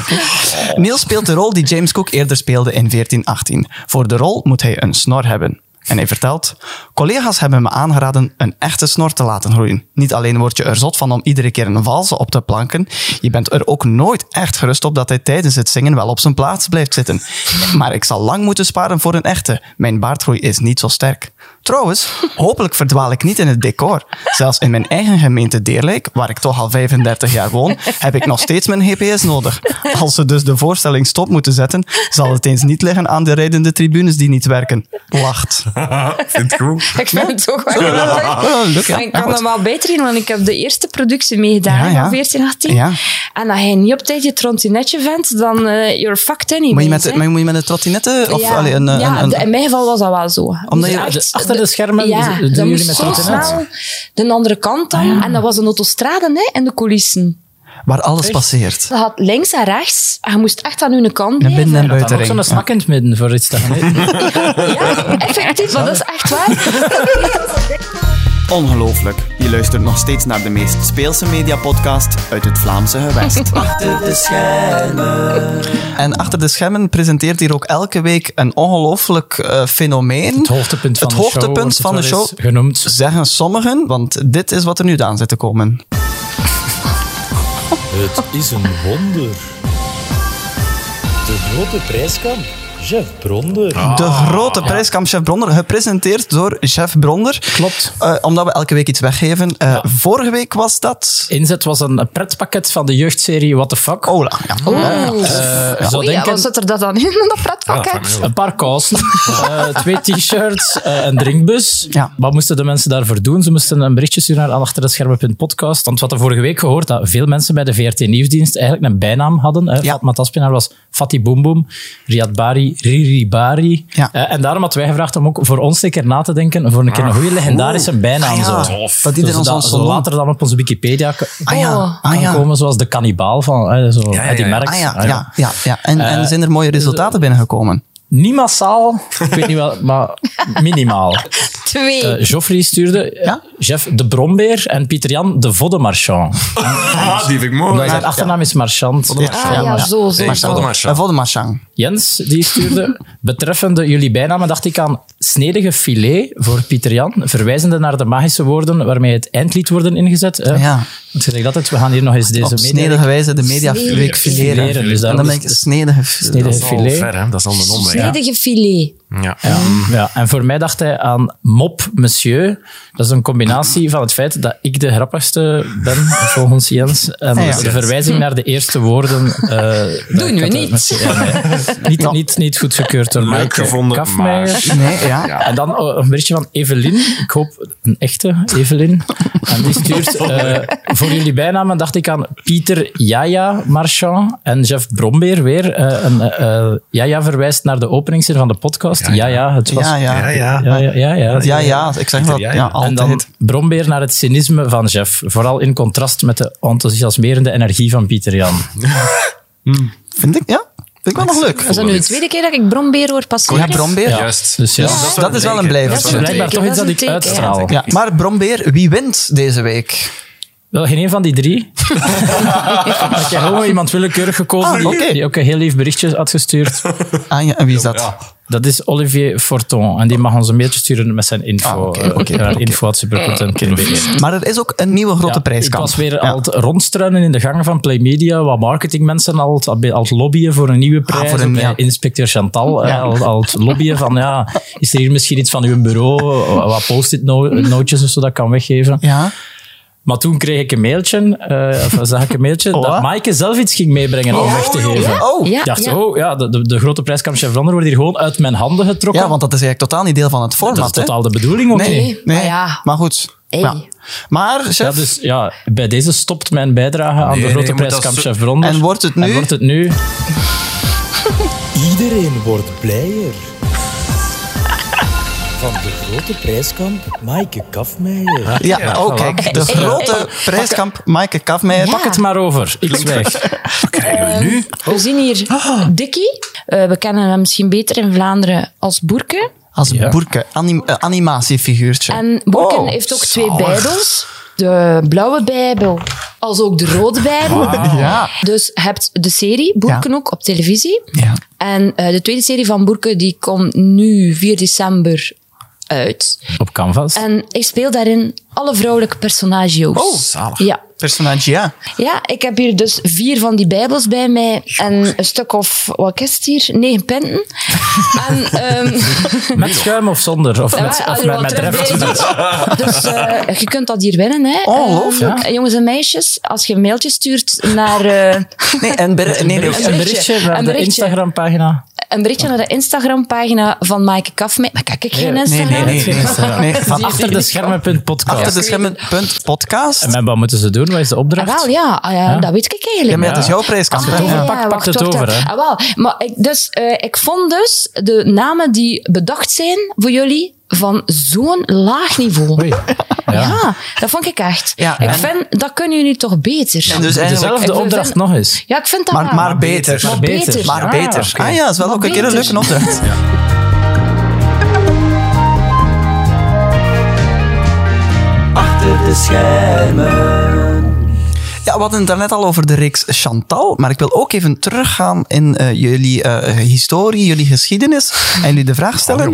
Niels speelt de rol die James Cook eerder speelde in 1418. Voor de rol moet hij een snor hebben. En hij vertelt, collega's hebben me aangeraden een echte snor te laten groeien. Niet alleen word je er zot van om iedere keer een valse op te planken, je bent er ook nooit echt gerust op dat hij tijdens het zingen wel op zijn plaats blijft zitten. Maar ik zal lang moeten sparen voor een echte. Mijn baardgroei is niet zo sterk. Trouwens, hopelijk verdwaal ik niet in het decor. Zelfs in mijn eigen gemeente Deerlijk, waar ik toch al 35 jaar woon, heb ik nog steeds mijn GPS nodig. Als ze dus de voorstelling stop moeten zetten, zal het eens niet liggen aan de rijdende tribunes die niet werken. Lacht. Vind ik goed. Ik vind het ook wel leuk. Oh, leuk, ja. Maar ik Ja, kan goed. er wel beter in, want ik heb de eerste productie meegedaan Ja, van ja. 1418. Ja. En als hij niet op tijd je trontinetje vindt, dan eh you're fucked anyways. Moet je met, hè. maar moet je met een trottinette? Of ja, allee, een, een, ja, een- de- in mijn geval was dat wel zo. Omdat Dus je- echt, de- achter de schermen ja, doen dan jullie moest met zo internet? snel de andere kant Ah, dan. En dat was een autostrade hè, in de coulissen. waar alles passeert. Dat had links en rechts. En je moest echt aan hun kant Naar blijven. binnen en Dat dan ook buiten. zo'n smak in het midden voor iets te gaan eten. Ja, effectief, maar dat is echt waar. Ongelooflijk. Je luistert nog steeds naar de meest speelse mediapodcast uit het Vlaamse gewest. Achter de schermen. En Achter de schermen presenteert hier ook elke week een ongelooflijk eh, fenomeen. Het hoogtepunt van Het de show. hoogtepunt wordt het van de wel eens show. Genoemd. Zeggen sommigen, want dit is wat er nu aan zit te komen. Het is een wonder. De grote prijskamp. Jeff Bronder. Ah, De grote prijskamp Chef Bronder, gepresenteerd door Chef Bronder. Klopt. Eh, omdat we elke week iets weggeven. Eh, Vorige week was dat... Inzet was een pretpakket van de jeugdserie What the Fuck. Ola. Ja. Oh, Eh, ja. zo Oei, ja, denken- Ah, wat zit er dat dan in, in dat pretpakket? Een paar kousen, eh, twee t-shirts, eh, een drinkbus. Ja. Wat moesten de mensen daarvoor doen? Ze moesten een berichtje sturen naar achter de schermen.podcast. Want we hadden vorige week gehoord dat veel mensen bij de VRT Nieuwsdienst eigenlijk een bijnaam hadden. Hè. Ja. Fatma Taspinaar was Fatty Boom Boom, Riyad Bari, Riri Bari. Ja. Eh, en daarom hadden wij gevraagd om ook voor ons een keer na te denken voor een keer een goede legendarische bijnaam. Ah, ja. zo. Tof. Dat iedereen Dus ons dat zo zo noemt. later dan op onze Wikipedia k- Ah ja, kan ah ja. komen, zoals de kannibaal van eh, zo, ja, Eddie ja. Merckx. Ah ja, Ah, ja, ja, ja. En, en zijn er mooie resultaten binnengekomen? Niet massaal, ik weet niet wel, maar minimaal. Twee. Eh, Joffrey stuurde eh, Ja? Jeff de Brombeer en Pieter Jan de Voddemarchand. Oh, Ah, die vind ik mooi. Omdat zijn achternaam is Marchand. ah ja, zo, zo. Hey, Voldemar. Eh, Voldemar Chang. Jens die stuurde betreffende jullie bijnamen dacht ik aan snedige filet voor Pieter Jan, verwijzende naar de magische woorden waarmee het eindlied worden ingezet. Eh, Ah, Ja. Want zeg ik dat het, we gaan hier nog eens Op deze media... snedige wijze de media Snedige week fileren. fileren, dus en daarom dan is ben ik het- snedige fileren. Snedige Dat is al filet. ver, hè? Dat is al een omweg. Snedige filet. Ja. Ja, en voor mij dacht hij aan mop monsieur. Dat is een combinatie van het feit dat ik de grappigste ben, volgens Jens. En Ja, ja. de verwijzing naar de eerste woorden. eh, dat Doen we ik had- niet. met- ja, nee. niet, niet. Niet goedgekeurd door Leuk Maaike gevonden, Kafmeijer. maar- Nee, ja. En dan eh, een berichtje van Evelyn. Ik hoop een echte Evelyn. En die stuurt... eh, voor jullie bijnamen dacht ik aan Pieter Jaja Marchand en Jeff Brombeer weer. Eh, een, eh, eh, Jaja verwijst naar de openingszin van de podcast. Ja, ja, het was Ja, Ja, ja. ja. ja, ja, ja. ja. Ja, ja, ik zeg dat. ja, Ja, ja. En dan altijd. brombeer naar het cynisme van Jeff. Vooral in contrast met de enthousiasmerende energie van Pieter Jan. Vind ik, ja. Vind ik wel nog leuk. Is dat nu de tweede keer dat ik brombeer hoor passeren? Ja, Brombeer. Ja. Juist. Dus ja, Ja, dat is wel een teken. blijver. Dat dat is is wel een blijkbaar teken. toch iets dat Dat ik is een teken, ja. uitstraal. Ja, maar Brombeer, wie wint deze week? Wel, geen een van die drie. Ik heb gewoon iemand willekeurig gekozen Ah, die, oké. die ook een heel lief berichtje had gestuurd. Ah, ja, en wie is dat? Dat is Olivier Forton. En die mag ons een mailtje sturen met zijn info. Ah, oké, eh, oké, naar oké. info@supercontent.be. Maar er is ook een nieuwe grote Ja, Ik prijskamp. was weer Ja. al het rondstruinen in de gangen van Play Media, wat marketingmensen al, het- al het lobbyen voor een nieuwe prijs. Ah, voor een- Bij ja. Inspecteur Chantal, eh, al, al het lobbyen van, ja, is er hier misschien iets van uw bureau, wat post-it no- nootjes of zo dat ik kan weggeven. Ja. Maar toen kreeg ik een mailtje, eh, of zag ik een mailtje, Oh, dat wat? Maaike zelf iets ging meebrengen om weg te geven. Oh. Ja, Ik dacht, ja. oh ja, de, de, de grote prijskamp Chef Vlaanderen wordt hier gewoon uit mijn handen getrokken. Ja, want dat is eigenlijk totaal niet deel van het format. dat is hè? totaal de bedoeling ook niet. Nee, nee. Ah, ja. Maar goed. Hey. Ja. Maar, chef, Ja, dus ja, bij deze stopt mijn bijdrage aan Nee, de nee, grote je moet prijskamp dat zo- Chef Bronder. En wordt het nu? En wordt het nu... Iedereen wordt blijer. Van de grote prijskamp Maaike Kafmeijer. Ja, oh voilà. kijk, de Eh, eh, grote prijskamp Maaike Kafmeijer. Ja. Pak het maar over. Ik zwijg. Krijgen we nu? We zien hier Dikkie. Eh, we kennen hem misschien beter in Vlaanderen als Boerke. Als Ja. boerke, anim- eh, animatiefiguurtje. Ehm, En Boerke Oh, heeft ook twee bijdels. de blauwe Bijbel als ook de rode Bijbel. Ja. Dus hebt de serie Boerken ook op televisie. Ja. En eh, de tweede serie van Boerken die komt nu 4 december uit. Op Canvas. En ik speel daarin alle vrouwelijke personages. Oh, zalig. Ja. Personage, ja. ja, ik heb hier dus vier van die Bijbels bij mij. En een stuk of, wat is het hier? Negen punten. en, ehm, Met schuim of zonder? Of met, ja, of je met, wilt met er drift? een beetje. Dus eh, je kunt dat hier winnen, hè. Ongelooflijk. Eh, jongens en meisjes, als je een mailtje stuurt naar... eh, Nee, en ber- nee, nee, Een berichtje. berichtje naar Een de berichtje. Instagram-pagina. een berichtje naar de Instagram-pagina van Maaike Kafme. Maar kijk ik geen nee, Instagram? nee, nee. nee van achter, Achter de schermen.podcast. achter de schermen punt podcast. En wat moeten ze doen? Wat is de Ah, opdracht? wel, ja. Ah, ja, dat weet ik Ja, eigenlijk. maar dat is jouw prijskant. het hè? over- Ja. pakt, pakt wacht, het wacht, over, wacht. hè. Ah, wel. Maar ik, dus, eh, ik vond dus de namen die bedacht zijn voor jullie van zo'n laag niveau. Oei. Ja. dat vond ik echt. Ja, ik en- vind, dat kunnen jullie toch beter. En dus eigenlijk... Ik Dezelfde vind- opdracht nog eens. ja, ik vind dat Maar, wel. maar beter. Maar beter. Maar Ah, beter. oké. Ah ja, is wel ook een keer een beter. leuke opdracht. Achter de schermen. Ja, we hadden het daarnet al over de reeks Chantal, maar ik wil ook even teruggaan in eh, jullie eh, historie, jullie geschiedenis en jullie de vraag stellen.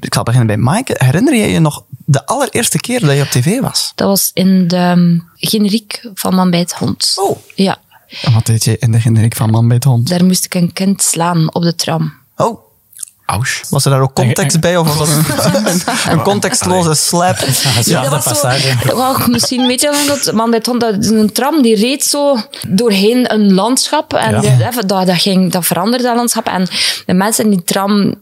ik zal beginnen bij Maaike. Herinner jij je nog de allereerste keer dat je op tv was? Dat was in de ehm, generiek van Man bij het Hond. Oh. Ja, En Wat deed je in de generiek van Man bij het Hond? daar moest ik een kind slaan op de tram. Oh, Ausch. was er daar ook context bij of was dat een, een, een contextloze slap? Ja, de dat was zo- passage. Wel, misschien weet je wel dat man bij het hond, dat is een tram die reed zo doorheen een landschap. En Ja. dat, dat, dat ging, dat veranderde dat landschap. En de mensen in die tram,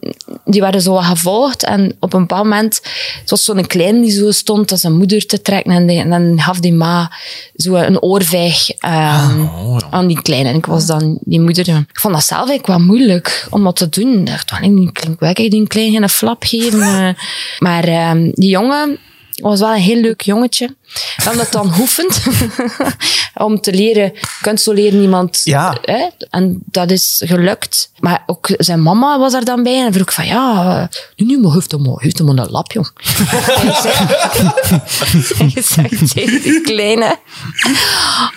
die werden zo wat gevolgd. En op een bepaald moment, het was zo'n klein die zo stond als een moeder te trekken. En, die- en dan gaf die ma zo een oorvijg ehm, Ah, oh, aan die kleine. En ik was dan die moeder. Ik vond dat zelf eigenlijk wel moeilijk om dat te doen. Ik dacht, "Wel, die klinkt weg, ik die klein geen flap geven. eh. maar ehm, die jongen, was wel een heel leuk jongetje. We hebben dat dan hoefend. om te leren, je kunt zo leren iemand. Ja. Hè? En dat is gelukt. Maar ook zijn mama was er dan bij en vroeg van, ja, eh, nu, nu maar heeft hem maar, heeft hem maar een lap, jong. en je zegt- en je zegt tegen die kleine,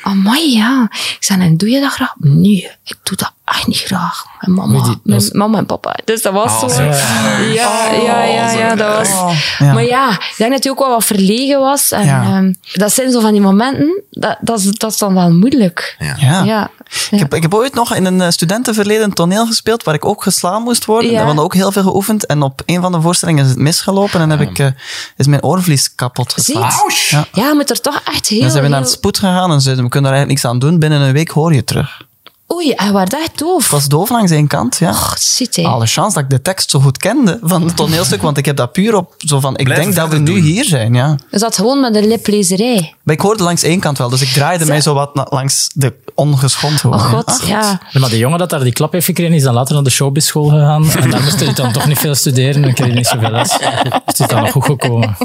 amai, ja. Ik zei, en doe je dat graag? Nee, ik doe dat echt niet graag. En mama, Moet die- mijn dat is- Ah, mama en papa. Dus dat was zo. Ja, ja, Oh, ja, ja, dat was... Ja. Maar ja, ik denk dat hij ook wel wat verlegen was. En, Ja. ehm, dat zijn zo van die momenten, dat, dat, is, dat is dan wel moeilijk. Ja. Ja. ja. Ik, heb, ik heb ooit nog in een eh, studentenverleden toneel gespeeld waar ik ook geslaan moest worden. Ja. We hadden ook heel veel geoefend. En op een van de voorstellingen is het misgelopen en heb ik, eh, is mijn oorvlies kapot geslagen. Ziet? Ja. Ja, je moet er toch echt heel... Dan zijn we naar heel- het spoed gegaan en zeiden we kunnen er eigenlijk niks aan doen. Binnen een week hoor je terug. Oei, hij was echt doof. Ik was doof langs één kant, ja. Och, ziet hij. Alle chance dat ik de tekst zo goed kende van het toneelstuk, want ik heb dat puur op zo van, ik Blijf denk dat we verder nu doen. hier zijn, ja. Hij zat gewoon met een liplezerij. Maar ik hoorde langs één kant wel, dus ik draaide mij zo wat na- langs de ongeschond hoor. Oh ja. god, Ah, ja. Ja, maar de jongen dat daar die klap heeft gekregen, is dan later naar de showbizschool gegaan. En daar moest hij dan toch niet veel studeren en kreeg hij niet zoveel les. Dus het is dan wel goed gekomen.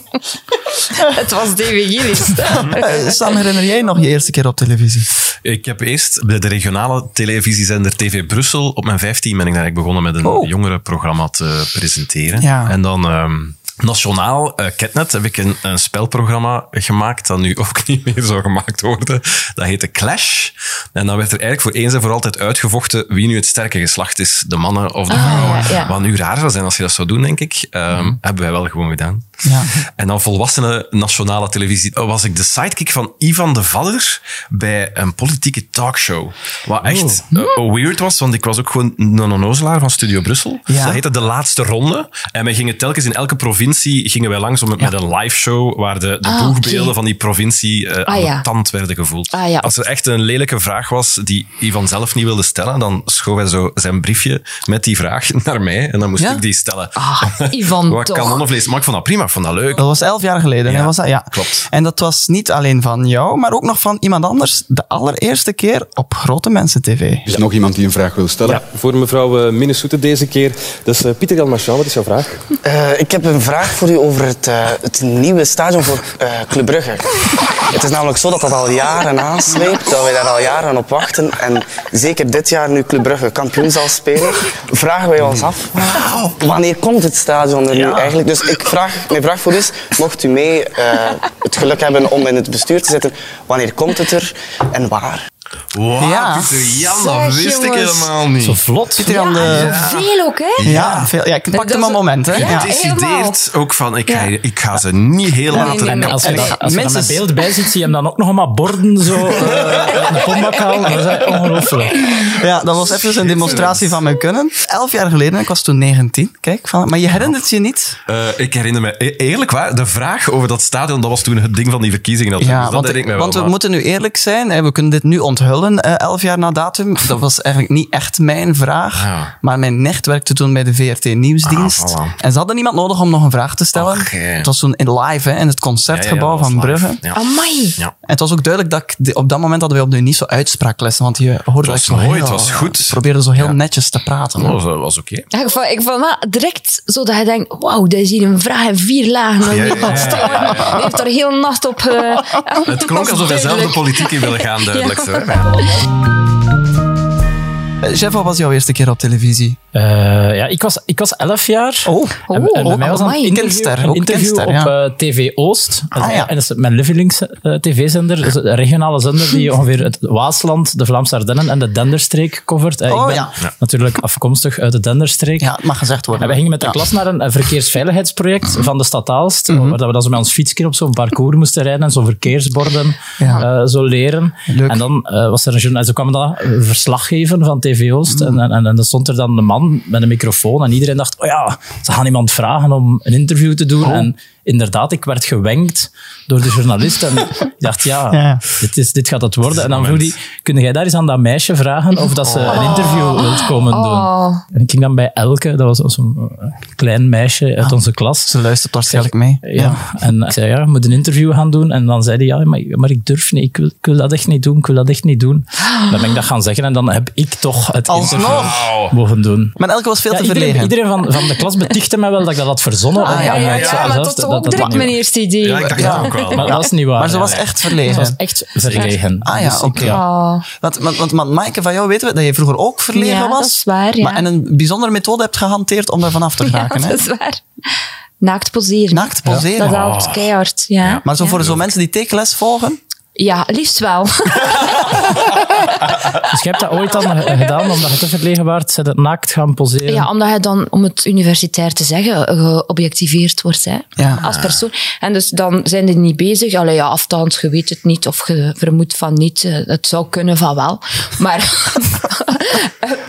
Het was David Gillis. Eh, Sam, herinner jij nog je eerste keer op televisie? Ik heb eerst bij de regionale televisiezender TV Brussel, op mijn 15 ben ik daar eigenlijk begonnen met een Oh. jongerenprogramma te presenteren. Ja. En dan ehm, nationaal, eh, Catnet, heb ik een, een spelprogramma gemaakt dat nu ook niet meer zou gemaakt worden. Dat heette Clash. En dan werd er eigenlijk voor eens en voor altijd uitgevochten wie nu het sterke geslacht is, de mannen of de Ah, vrouwen. ja, ja. Wat nu raar zou zijn als je dat zou doen, denk ik. Ehm, Mhm. Hebben wij wel gewoon gedaan. Ja. En dan volwassenen nationale televisie eh, was ik de sidekick van Ivan de Vadder bij een politieke talkshow. Wat Oh. echt eh, weird was, want ik was ook gewoon een onnozelaar van Studio Brussel. Ja. Dat heette De Laatste Ronde. En wij gingen telkens in elke provincie gingen wij langs om met, met een live show waar de, de Ah, boegbeelden oké. Ah, van die provincie eh, aan ja. de tand werden gevoeld. Ah, ja. Als er echt een lelijke vraag was die Ivan zelf niet wilde stellen, dan schoof hij zo zijn briefje met die vraag naar mij en dan moest Ja? ik die stellen. Ah, Ivan Wat toch. kanonnenvlees. Maar ik vond dat prima, ik vond dat leuk. Dat was elf jaar geleden, hè, Ja, was dat? Ja. klopt. En dat was niet alleen van jou, maar ook nog van iemand anders. De allereerste keer op Grote Mensen TV. Is er nog iemand die een vraag wil stellen? Voor mevrouw eh, Minnesota deze keer. Dus is Pieter Jan eh, Marchand, wat is jouw vraag? Eh, ik heb een vraag vraag voor u over het, eh, het nieuwe stadion voor eh, Club Brugge. Het is namelijk zo dat dat al jaren aansleept, dat wij daar al jaren op wachten. En zeker dit jaar, nu Club Brugge kampioen zal spelen, vragen wij ons af, wanneer komt het stadion er nu eigenlijk? Dus ik vraag, mijn vraag voor u is, mocht u mee eh, het geluk hebben om in het bestuur te zitten, wanneer komt het er en waar? Wow, Ja. Pieter Jan, Zeg, dat wist ik jongens. helemaal niet. Zo vlot. Pieter Jan de... Veel ook, hè? Ja, veel, ja ik pakte dat mijn is- moment. Hè. Ja. Ja. helemaal. Decideert ook van, ik ga, ik ga ze niet heel laten... nee, En nee. als je, En dan, ik- als je dan mensen- met beeld bij zit, zie je hem dan ook nog allemaal borden zo eh uit de pompak halen. Dat is echt ongelooflijk. Ja, dat was even een demonstratie van mijn kunnen. Elf jaar geleden, ik was toen 19, kijk. Van, maar je herinnert je niet? Eh, ik herinner me, e- eerlijk waar, de vraag over dat stadion, dat was toen het ding van die verkiezingen. Dat, dus dat want, herinner ik me wel. want we maar- moeten nu eerlijk zijn. hè, We kunnen dit nu onthullen, eh, elf jaar na datum. Dat was eigenlijk niet echt mijn vraag. Ja. Maar mijn nicht werkte toen bij de VRT Nieuwsdienst. Ah, voilà. En ze hadden niemand nodig om nog een vraag te stellen. Ach, eh. Het was toen in live, hè, in het Ja, ja, concertgebouw dat was van live. Brugge. Ja. Amai. Ja. En het was ook duidelijk dat ik de- op dat moment hadden we opnieuw niet zo uitspraaklessen. Want je hoorde was dat ik zo mooi, heel- het was goed. Oh. Ik probeerde zo heel netjes te praten. Dat was, dat was oké. Ja, ik vond, ik vond wel direct zo dat je denkt, wauw, dat is hier een vraag en vier lagen. Dan Ja, ja, ja. Die die heeft daar heel nacht op... eh, Het klonk alsof hij zelf de politiek in wilde gaan, duidelijk. zo, hè. Maar ja. Eh, Jeff, wat was jouw eerste keer op televisie? Eh, ja, ik was, ik was elf jaar. Oh. En, en bij Oh, mij was een amai. interview, Kindster, een ook interview kindster, op ja. eh, TV Oost. Dat is- Ah, ja. En dat is mijn eh, Livelings-tv-zender. een Dus regionale zender die ongeveer het Waasland, de Vlaamse Ardennen en de Denderstreek covert. Eh, Oh, ik ben ja. natuurlijk afkomstig uit de Denderstreek. Ja, het mag gezegd worden. En we gingen met de klas naar een, een verkeersveiligheidsproject van de stad Aalst, waar dat we dan zo met ons fietsje op zo'n parcours moesten rijden en zo'n verkeersborden Ja. eh, zo leren. Leuk. En dan eh, was er een journalist, ze kwam dan eh, verslag geven van TV Oost en, en, en, dan stond er dan een man met een microfoon en iedereen dacht, oh ja, ze gaan iemand vragen om een interview te doen. En inderdaad, ik werd gewenkt door de journalist en ik dacht, ja, Ja. Dit, is, dit gaat het worden. En dan vroeg hij, kun jij daar eens aan dat meisje vragen of dat ze een interview wilt komen doen? Oh. En ik ging dan bij Elke, dat was zo'n eh, klein meisje uit onze klas. Ah, Ze luistert waarschijnlijk mee. Ja. en ik zei, ja, ik moet een interview gaan doen. En dan zei hij, ja, maar, maar ik durf niet, ik wil, ik wil dat echt niet doen, ik wil dat echt niet doen. Dan ben ik dat gaan zeggen en dan heb ik toch het interview Alsnog. mogen doen. Maar elke was veel Ja, te iedereen verlegen. iedereen van, van de klas betichtte mij wel dat ik dat had verzonnen. Ah, En- ja, en ja, ik zei ja, maar zelf tot dat- ook dat dat direct niet- mijn eerste idee. Ja, ik dacht dat ook wel. Maar dat is niet waar. Maar ze ja. was echt Ze verlegen. was echt verlegen. Ah ja, Dus ik- oké. Oh. Want, want, want, want Maaike, van jou weten we dat je vroeger ook verlegen Ja, was. dat is waar, ja. Maar, en een bijzondere methode hebt gehanteerd om daar vanaf te Ja, geraken. hè? dat is waar. Naakt poseren. Naakt poseren. Dat helpt keihard, ja. Ja, Maar zo voor zo mensen die tekenles volgen. liefst wel. Dus je hebt dat ooit dan eh, gedaan, omdat je te verlegen waart, ze dat naakt gaan poseren. Ja, omdat je dan, om het universitair te zeggen, geobjectiveerd wordt hè, Ja. als persoon. En dus dan zijn die niet bezig. Allee, ja, afstand, je weet het niet of je vermoedt van niet. Eh, Het zou kunnen van wel. Maar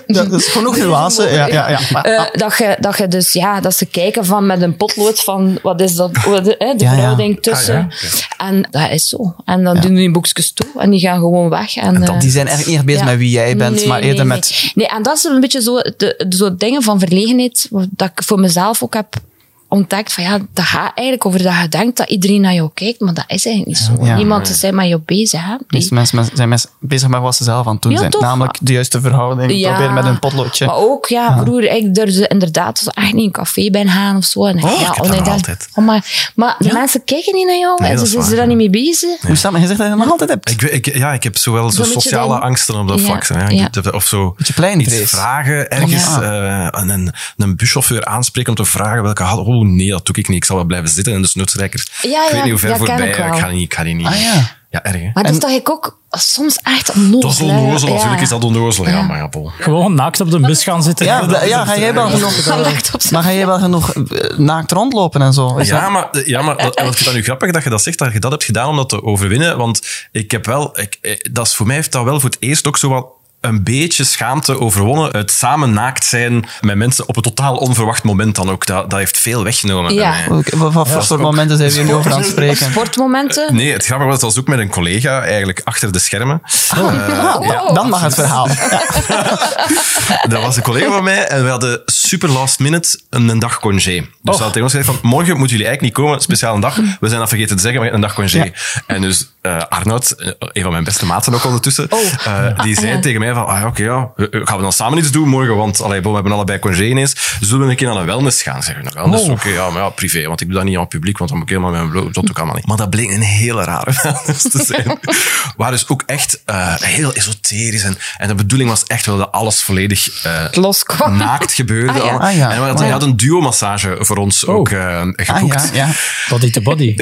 Dat is genoeg nuance. Ja, ja, ja. Maar- eh, dat, je, dat je dus, ja, dat ze kijken van met een potlood van wat is dat, wat, hè, de Ja, ja. verhouding tussen. En dat is zo. En dan doen die boekjes toe en die gaan gewoon weg. En, eh, die zijn eigenlijk niet echt bezig ja. met wie jij bent, Nee, maar eerder nee, met... Nee. nee, en dat is een beetje zo, de, de- zo dingen van verlegenheid, wat- dat ik voor mezelf ook heb ontdekt van ja, dat gaat eigenlijk over dat je denkt dat iedereen naar jou kijkt, maar dat is eigenlijk niet zo. Ja. Niemand is zijn met jou bezig. Hè? De Die- meeste mensen men- zijn mensen bezig met wat ze zelf aan het doen Ja, zijn. toch? Namelijk de juiste verhouding Hm, Ja. proberen met een potloodje. Maar ook, ja, broer, ik durfde inderdaad zo echt niet in een café bij gaan of zo. En, ja, Oh, ik heb dat omdat nog dacht, altijd. oh, maar maar de mensen kijken niet naar jou Nee, en ze dat is zijn waar, er dan ja. niet mee bezig. Hoe staat het? Je zegt dat je dat nog altijd hebt. Ik, weet- ik, ja, ik heb zowel zo Zo'n beetje sociale dan- angsten op dat Ja, vlak. hè. ja. Ik- Of zo Beetje pleinvrees. iets vragen ergens. eh, en een, een buschauffeur aanspreken om te vragen welke had. Oh nee, dat doe ik niet. Ik zal wel blijven zitten en de snoetsrijker. Ja, ik weet ja, niet hoe ver dat ken voorbij. ik wel. ga niet. Ik ga die niet. Ah, ja. erg. hè. Maar dat is toch ik ook soms echt onnozel. Dat is hè. onnozel. Ja. Natuurlijk is dat onnozel. Ja, maar ja, bol. Gewoon naakt op de bus gaan zitten. Ja, bl- ja, ga jij wel genoeg, Naakt op zijn maar ga jij wel genoeg eh, naakt rondlopen en zo? Is dat- Ja, maar, ja, maar dat, en wat ik vind dat nu grappig dat je dat zegt, dat je dat hebt gedaan om dat te overwinnen. Want ik heb wel, ik, eh, dat is, voor mij heeft dat wel voor het eerst ook zo wat een beetje schaamte overwonnen. Het samen naakt zijn met mensen op een totaal onverwacht moment dan ook. Dat, dat heeft veel weggenomen Ja. bij mij. Oké, Wat wat voor soort momenten zijn we hier nu over aan het spreken? Sportmomenten. Nee, het grappige was, dat was ook met een collega, eigenlijk achter de schermen. Ah, ja. Dan mag het verhaal. Dat was een collega van mij en we hadden super last minute een, een dag congé. Dus ze hadden tegen ons gezegd van, morgen moeten jullie eigenlijk niet komen, speciaal een dag. We zijn dat vergeten te zeggen, maar een dag congé. En dus eh, Arnoud, eh, een van mijn beste maten ook ondertussen, eh, die zei tegen mij mij van, ah ja, oké, ja. Eh, eh, gaan we dan samen iets doen morgen? Want allee, bon, we hebben allebei congé ineens. Zullen we een keer naar een wellness gaan? Zeggen we, naar wellness? dus Oké, ja, maar ja, privé. Want ik doe dat niet aan het publiek, want dan moet ik helemaal met mijn bloot. Dat doe ik allemaal niet. Maar dat bleek een hele rare wellness te zijn. Waar dus ook echt eh, heel esoterisch. En, en de bedoeling was echt wel dat alles volledig eh, loskwam. naakt gebeurde. Ah, ja. allemaal. Ah, ja. En we hadden, Oh, ja. Oh. hij had een duo-massage voor ons ook eh, geboekt. Ah, ja, ja. Body to body.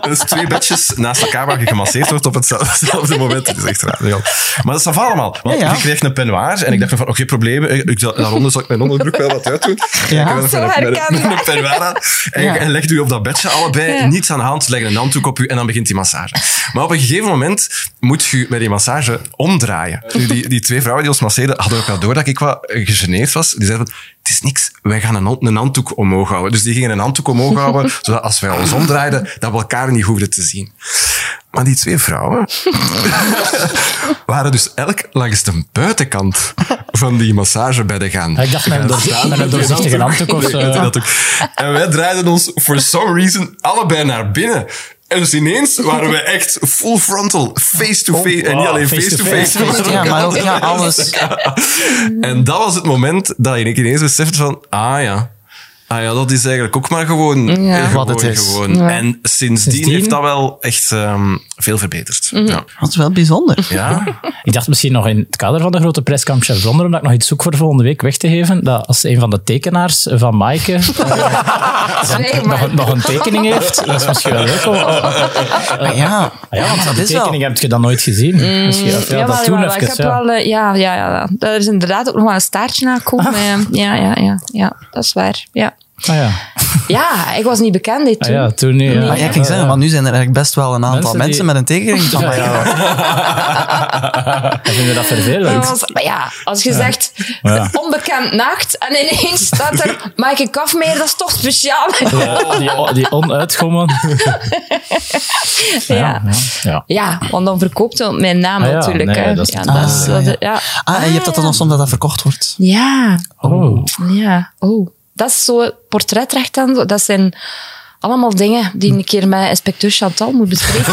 Dus twee bedjes naast elkaar waar je gemasseerd wordt op hetzelfde moment. Dat is echt raar. ja. Maar dat is af allemaal. Want Ja, ja. ik kreeg een peignoir en ik dacht van, oké, probleem. Ik, ik, daaronder zal ik mijn onderbroek wel wat uitdoen. Ja. Ik heb Zo een- met een- met een- herkenbaar. met een peignoir aan. En, Ja. en legt u op dat bedje allebei niets aan de hand. Leg een handdoek op u en dan begint die massage. Maar op een gegeven moment moet je met die massage omdraaien. Nu, die, die twee vrouwen die ons masseerden hadden ook al door dat ik wat eh, gegeneerd was. Die zeiden van, het is niks, wij gaan een, hand- een handdoek omhoog houden. Dus die gingen een handdoek omhoog houden, zodat als wij ons omdraaiden, dat we elkaar niet hoefden te zien. Maar die twee vrouwen waren dus elk langs de buitenkant van die massagebedden gaan. Ik dacht met een, door, met een doorzichtige handdoek of zo. Ik weet dat ook. En wij draaiden ons for some reason allebei naar binnen. En dus ineens waren we echt full frontal, Oh, face-to-face. en niet alleen face-to-face, face-to-face, maar Ja, ook maar ook, altijd ja, naar alles. en dat was het moment dat ik ineens besefte van, ah ja, ah ja, dat is eigenlijk ook maar gewoon, eh, gewoon, Wat het is. gewoon. Ja. En sindsdien, Sindsdien? heeft dat wel echt ehm, veel verbeterd. Ja. Dat is wel bijzonder. ja. Ik dacht misschien nog in het kader van de grote prijskamp Chef Vlaanderen, dat ik nog iets zoek voor volgende week weg te geven, dat als een van de tekenaars van Maaike eh, Zwijg nog, een- maar. nog een tekening heeft, dat is misschien wel leuk. om- Ah, ja. Ah ja, want dat die is wel. tekening heb je dan nooit gezien. Misschien, of ja, dat maar- toen maar ik even. heb Ja. wel, eh, ja, ja, ja, ja. Er is inderdaad ook nog wel een staartje naar gekomen. Ah. eh, Ja, ja, ja, ja, dat is waar. Ja, Ah ja. ja ik was niet bekend dit Ah toen. ja, toen nu. Ja. Ah, ja, ik ging zeggen, want nu zijn er eigenlijk best wel een aantal Mensen mensen, die- met een tekening van Ja. bij jou. Ik vind dat Dat vervelend. was- maar ja, als je zegt Ja. onbekend nacht en ineens staat er Maaike Kafmeer, dat is toch speciaal. Ja, die, die onuitgommen. Ja, ja. ja. want dan verkoopt het mijn naam Ah ja, natuurlijk. nee, hè. dat is ja, natuurlijk- is- Ah, dat- ja. Ah, en je hebt dat dan ja. nog soms dat dat verkocht wordt. Ja, Oh. ja. Oh. Dat is zo portretrecht en zo. Dat zijn allemaal dingen die een keer met inspecteur Chantal moet bespreken.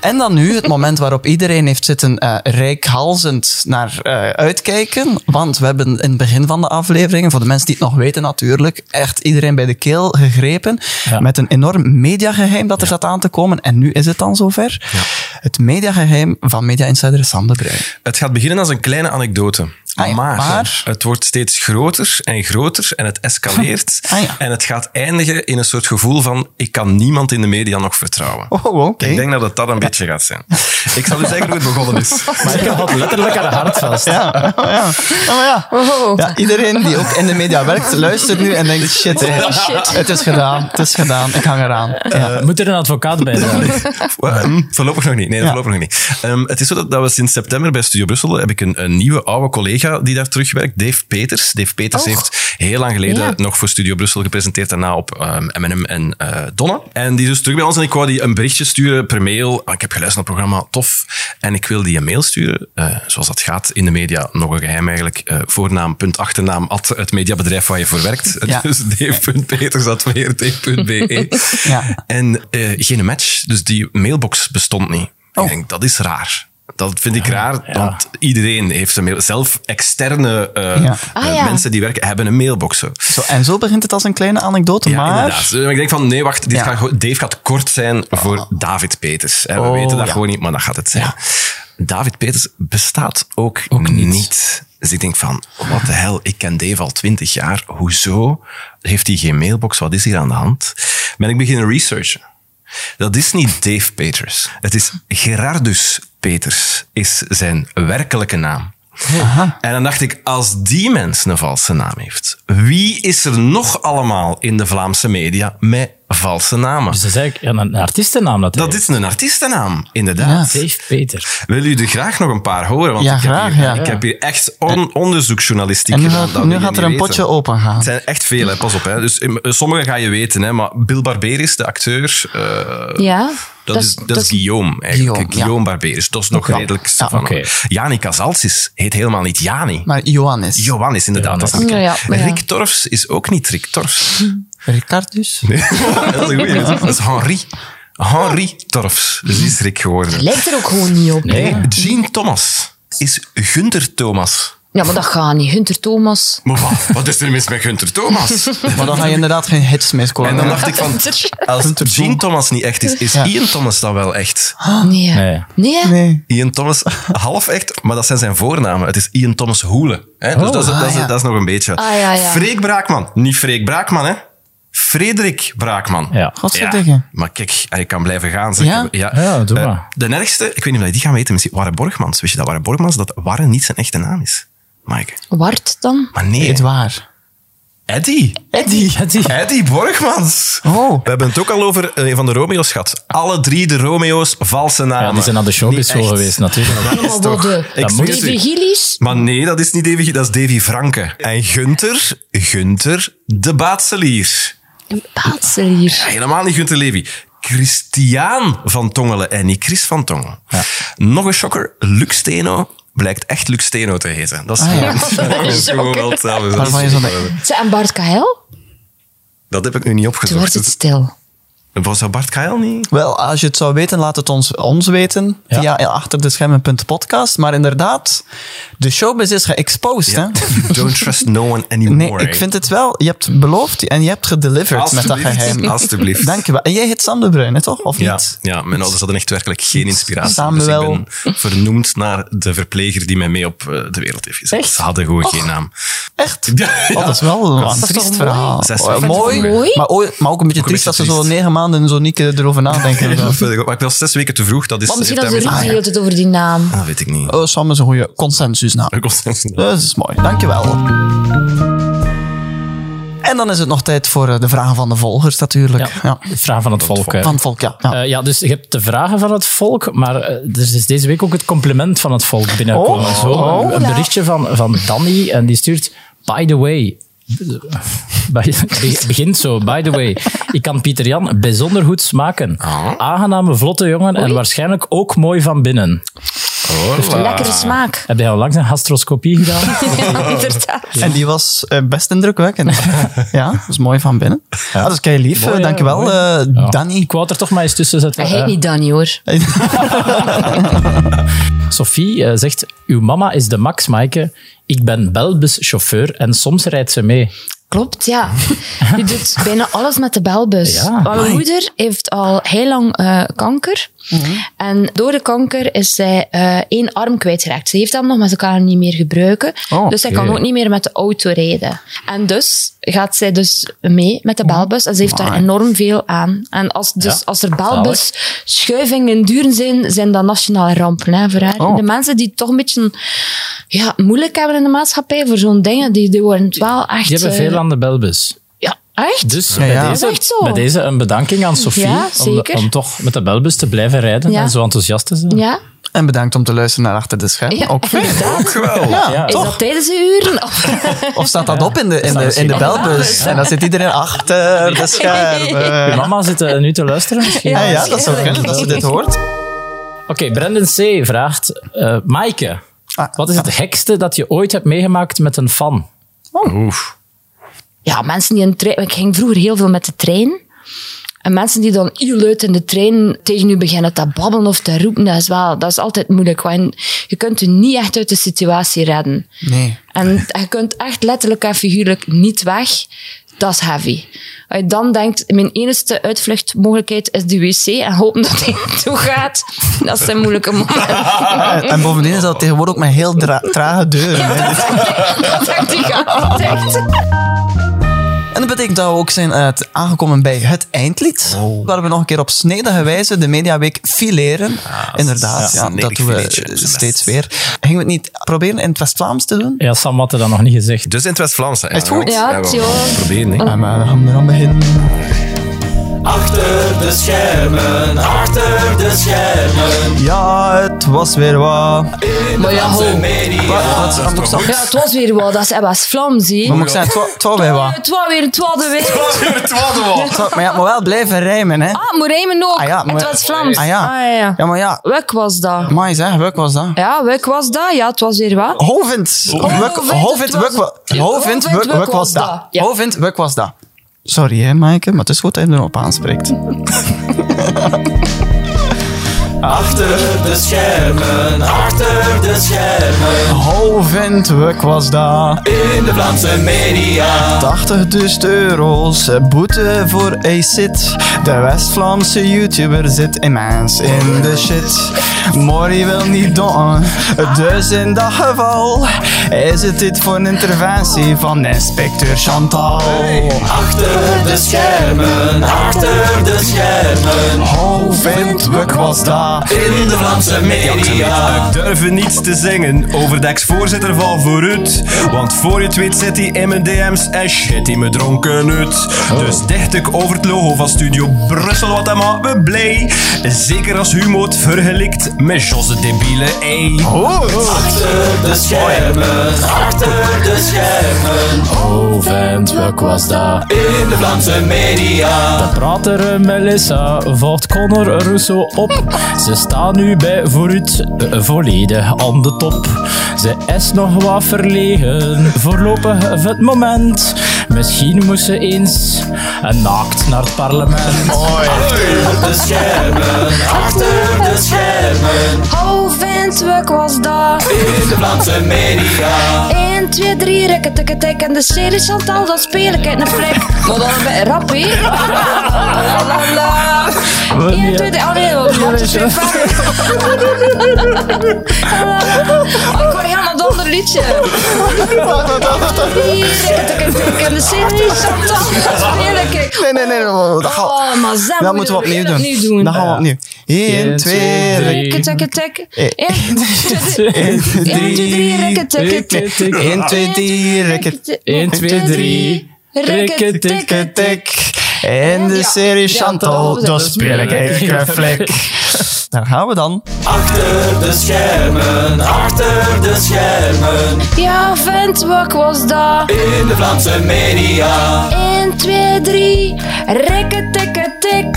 En dan nu het moment waarop iedereen heeft zitten eh rijkhalzend naar eh, uitkijken. Want we hebben in het begin van de afleveringen, voor de mensen die het nog weten natuurlijk, echt iedereen bij de keel gegrepen. Ja. Met een enorm mediageheim dat er zat aan te komen. En nu is het dan zover. Het mediageheim van Media Insider Sander Bruin. Het gaat beginnen als een kleine anekdote. Ah ja, maar, maar- het wordt steeds groter en groter en het escaleert. Ah ja. En het gaat eindigen in een soort gevoel van ik kan niemand in de media nog vertrouwen. Oh, oké. Ik denk dat het dat een beetje gaat zijn. Ik zal u zeggen hoe het begonnen is. Maar ik had letterlijk aan de hart vast. Ja, oh ja. Oh ja. Wow. ja, iedereen die ook in de media werkt, luistert nu en denkt, shit, hè. Oh, shit. het is gedaan, het is gedaan, ik hang eraan. Ja. Eh, Moet er een advocaat bij zijn? Dus Wa- hm, voorlopig nog niet. Nee, voorlopig nog niet. Ehm, het is zo dat, dat we sinds september bij Studio Brussel heb ik een, een nieuwe oude collega die daar terugwerkt, Dave Peters. Dave Peters Och. heeft heel lang geleden Ja. nog voor Studio Brussel gepresenteerd, daarna op ehm, M&M en eh, Donna. En die is dus terug bij ons en ik wou die een berichtje sturen per mail. Ah, ik heb geluisterd naar het programma, tof. En ik wil die een mail sturen, eh, zoals dat gaat in de media, nog een geheim eigenlijk, eh, voornaam, punt, achternaam, at het mediabedrijf waar je voor werkt. Ja. Dus dave.peters.weert.be. Ja. En eh, geen match, dus die mailbox bestond niet. Oh. Ik denk, dat is raar. Dat vind ik raar, want iedereen heeft een mail. Zelf externe eh, Ja. Ah, eh, ja. mensen die werken, hebben een mailbox. Zo. Zo, en zo begint het als een kleine anekdote, Ja, maar... inderdaad. Dus ik denk van, nee, wacht, dit Ja. gaat gewoon- Dave gaat kort zijn voor David Peters. hè. We Oh, weten dat ja. gewoon niet, maar dat gaat het zijn. David Peters bestaat ook, niet. Dus ik denk van, wat de hel, ik ken Dave al twintig jaar. Hoezo heeft hij geen mailbox? Wat is hier aan de hand? Ben ik beginnen researchen. Dat is niet Dave Peters. Het is Gerardus Peters, is zijn werkelijke naam. En dan dacht ik, als die mens een valse naam heeft, wie is er nog allemaal in de Vlaamse media met valse namen? Dus dat is eigenlijk ja, een artiestennaam. Dat, Dat Ah. hij is een artiestennaam, inderdaad. heeft. Dave Peter. Wil u er graag nog een paar horen? Want Ja, ik, heb graag, hier, ja. ik heb hier echt on- onderzoeksjournalistiek En nu gedaan. gaat, dat nu wil je gaat er een niet potje weten. open gaan. Het zijn echt veel, hè. pas op. Hè. Dus, eh, sommige ga je weten, hè. maar Bill Barberis, de acteur, eh, Ja, dat, is, dat is Guillaume eigenlijk. Guillaume, Guillaume, ja. Ah, Barberis, dat is nog Oké. redelijk... Ja, van- oké. Jani Casalsis heet helemaal niet Jani. Maar Johannes. Johannes, inderdaad. Dat is een Ja, bekend. ja, ja. Rick Torfs is ook niet Rick Torfs. Ricardus. dat is een goeie. Dat is Henri. Henri Torfs. Dus die is Rick geworden. Lijkt er ook gewoon niet op. Nee, Jean Thomas is Gunter Thomas. Ja, maar dat gaat niet. Hunter Thomas. Maar wat, wat is er mis met Gunter Thomas? Maar dan ga je inderdaad geen hits meer scoren. En dan hè. dacht ik van, als Jean Thomas niet echt is, is Ian Thomas dan wel echt? Nee. Nee. Nee. nee. Nee. Ian Thomas, half echt, maar dat zijn zijn voornamen. Het is Ian Thomas Hoelen. Hè? Dus dat, is, dat, is, dat is nog een beetje. Ah, ja, ja. Freek Braakman. Niet Freek Braakman, hè? Frederik Braakman. Ja. Godverdikke. Maar kijk, ik kan blijven gaan. Zeg. Ja? Ja, doe Eh, maar. de ergste, ik weet niet of je die gaan weten, misschien Warren Borgmans. Wist je dat Warren Borgmans, dat Warren niet zijn echte naam is? Mike. Wart dan? Maar nee, Het waar. Eddie. Eddie. Eddie. Eddie Borgmans. Oh. We hebben het ook al over eh, een van de Romeo's gehad. Alle drie de Romeo's valse namen. Ja, die zijn naar de Niet showbiz echt. geweest, natuurlijk. Ja, maar toch- de, Ik de, zweer het u. Vigilies? Maar nee, dat is niet Davy, dat is Davy Franke. En Gunther, Gunther de Baatselier. Een paatser hier. Helemaal niet Gunther Levy. Christiaan van Tongelen en niet Chris van Tongelen. Nog een shocker, Luc Steno blijkt echt Luc Steno te heten. Dat is Ah, dat is gewoon wel hetzelfde. Dat, Waarvan je is- zo Ze en Bart Kael? dat heb ik nu niet Toen werd opgezocht. het stil. Was dat Bart Keil niet? Wel, als je het zou weten, laat het ons, ons weten Ja. via achterdeschermen.podcast. Maar inderdaad, de showbiz is geëxposed, hè? Don't trust no one anymore. Nee, ik vind het wel. Je hebt beloofd en je hebt gedeliverd met dat Alsjeblieft, geheim. alsjeblieft. Dank je wel. En jij heet Sam de Bruyne, toch? Of Ja, niet? ja, mijn ouders hadden echt werkelijk geen inspiratie. Samuel. Dus ik ben vernoemd naar de verpleger die mij mee op eh, de wereld heeft gezet. Echt? Ze hadden gewoon geen naam. Echt? Ja. Oh, dat is wel een is toch triest mooi? verhaal. Zes Oh, weken mooi, vroeger. Mooi. Maar, ook, maar ook een beetje triest dat ze beetje zo triest. negen maanden zo niet erover nadenken. Dat vind ik ook. Maar ik was zes weken te vroeg. Dat is Maar misschien heeft hadden ze daarmee- Ruud de hele tijd over die naam. Ah, Dat weet ik niet. Oh, Sam is een goede consensusnaam. Ik was zes. Dat is mooi. Dankjewel. En dan is het nog tijd voor eh, de vragen van de volgers natuurlijk. Ja. Ja. Vraag van het volk. hè. Van het volk, ja. ja. Eh, ja, dus je hebt de vragen van het volk, maar eh, er is deze week ook het compliment van het volk binnenkomen. Oh. Zo, een- Een berichtje van, van Danny en die stuurt, by the way... Bij- be- begint zo, by the way. Ik kan Pieter Jan bijzonder goed smaken. Aangename, vlotte jongen en waarschijnlijk ook mooi van binnen. Lekkere smaak. Heb jij al langs een gastroscopie gedaan? Ja, inderdaad. En die was eh, best indrukwekkend. ja, dat is mooi van binnen. Ah, dat is kei lief. Mooi, eh, hè? dankjewel, Mooi. eh, Danny. Ik wou het er toch maar eens tussen zetten. Hij heet Eh, niet Danny hoor. Sophie eh, zegt, uw mama is de Max, Maaike. Ik ben Belbus-chauffeur en soms rijdt ze mee. Klopt, ja. Die doet bijna alles met de belbus. Ja, Mijn moeder heeft al heel lang eh, kanker. Mhm. En door de kanker is zij eh, één arm kwijtgeraakt. Ze heeft hem nog, maar ze kan hem niet meer gebruiken. Oh, dus zij oké. kan ook niet meer met de auto rijden. En dus gaat zij dus mee met de belbus. En ze heeft daar enorm veel aan. En als, dus, Oh, Ja, als er belbusschuivingen duur zijn, zijn dat nationale rampen hè, voor haar. Oh. De mensen die het toch een beetje ja, moeilijk hebben in de maatschappij voor zo'n dingen, die, die worden het wel echt... Die hebben eh, veel aan de Belbus. ja, echt? Dus ja. Bij, Dat is deze, echt zo. bij deze een bedanking aan Sophie Ja, om, de- zeker. om toch met de belbus te blijven rijden Ja. en zo enthousiast te zijn. Ja? En bedankt om te luisteren naar Achter de Schermen. ja. Ook fijn. inderdaad. Ja, Ja. Is dat tijdens de uren? Of- Of staat dat op in de, in de, in de belbus? En dan zit iedereen achter de Je schermen. mama zit eh, nu te luisteren misschien. Ah, Ja, ja, dat zou kunnen als je dit hoort. Oké, Brendan C. vraagt... eh Maaike, Ah, wat is het gekste dat je ooit hebt meegemaakt met een fan? Oef. ja, mensen die in de trein... Ik ging vroeger heel veel met de trein. En mensen die dan heel luid in de trein tegen u beginnen te babbelen of te roepen, dat is, wel, dat is altijd moeilijk. Want je kunt u niet echt uit de situatie redden. Nee. En je kunt echt letterlijk en figuurlijk niet weg. Dat is heavy. Als je dan denkt, mijn enige uitvluchtmogelijkheid is de wc en hopen dat hij toe gaat. Dat zijn moeilijke momenten. En, en bovendien is dat tegenwoordig ook met heel dra- trage deuren. hè. Dat dacht ik altijd. En dat betekent dat we ook zijn eh, t- aangekomen bij het eindlied. Oh. Waar we nog een keer op snedige wijze de Mediaweek fileren. Inderdaad, ja, ja, Ah, een dat lelijk doen we filetje, eh, zijn best. steeds weer. Gingen we het niet proberen in het West-Vlaams te doen? Ja, Sam had het dan nog niet gezegd. Dus in het West-Vlaams. Is het goed? Ja, Ah. we tjoh. gaan het proberen. hè. Ja, maar we gaan er aan beginnen. Achter de schermen, achter de schermen. Ja, het was weer wat. Maar ja, ho. Wat, wat wat moet ik zeggen? Ja, het was weer wat. Dat is Ebba's Vlaams, Wat hè. moet ik zeggen? Het wa- Het was weer wat. Het was weer een twaalfde week. Het wa- Maar ja, het moet wel blijven rijmen, hè. Ah, moet rijmen ook. Ah ja, maar- het was Vlaams. Ah ja. ja. Ja, maar ja. Wek was dat. Amai zeg, welk was dat? Ja, wek was dat. Ja, het was weer wat. Hovind. Wuk- Hovind, Hovind, het was- Wuk wa- Hovind, Wuk- Wuk was dat. Ja. Hovind, Wuk was dat. Sorry hè, Maaike, maar het is goed dat je hem erop aanspreekt. Achter de schermen, achter de schermen. Hovendwuk was daar. In de Vlaamse media. 80.000 dus euro's eh, boete voor ACID. De West-Vlaamse YouTuber zit immens in de shit. Mori wil niet doen, dus in dat geval is het dit voor een interventie van inspecteur Chantal. Achter de schermen, achter de schermen. Hovendwuk Oh, was daar. In de Vlaamse media. Ik durf niets te zingen over de ex-voorzitter van Vooruit. Want voor je het weet zit hij in mijn DM's en shit hij me dronken uit. Dus dicht ik over het logo van Studio Brussel, wat dat maakt me blij. Zeker als Humo het vergelijkt met Jos de debiele ei. De schermen, achter de schermen. Oh, vent, welk was dat? In de Vlaamse media. Prater eh, Melissa volgt Conor Russo op. Ze staan nu bij vooruit, eh, volledig aan de top. Ze is nog wat verlegen, voorlopig of het moment. Misschien moest ze eens een naakt naar het parlement. Oh, Windwek was daar. In de Vlaamse media. 1, 2, 3, rekketekketek. En de serie Chantal, dat speel ik in een flik. Maar dan een beetje rap, hè? La, la, la. 1, 2, 3, oh nee, dat was een Oh, ik hoor helemaal een ander liedje. Rekketekketek. En de serie Chantal, dat speel ik. Nee, nee, nee. Dat, dat, gaat- Oh, maar Zem, dat moeten we opnieuw doen. Opnieuw doen. Dat gaan we opnieuw. 1, Eén, 2, twee, 3. drie. Rekketekketek. Eh. 1, 2, 3, rekketekketek. 1, 2, 3. Rekketek. 1, 2, 3. Rekketek. En de Ja. serie Ja, Chantal, dat- dat speel ik even flik. Daar gaan we dan. Ja, vent, wat was dat? In de Vlaamse media. 1, 2, 3, rekketekketek.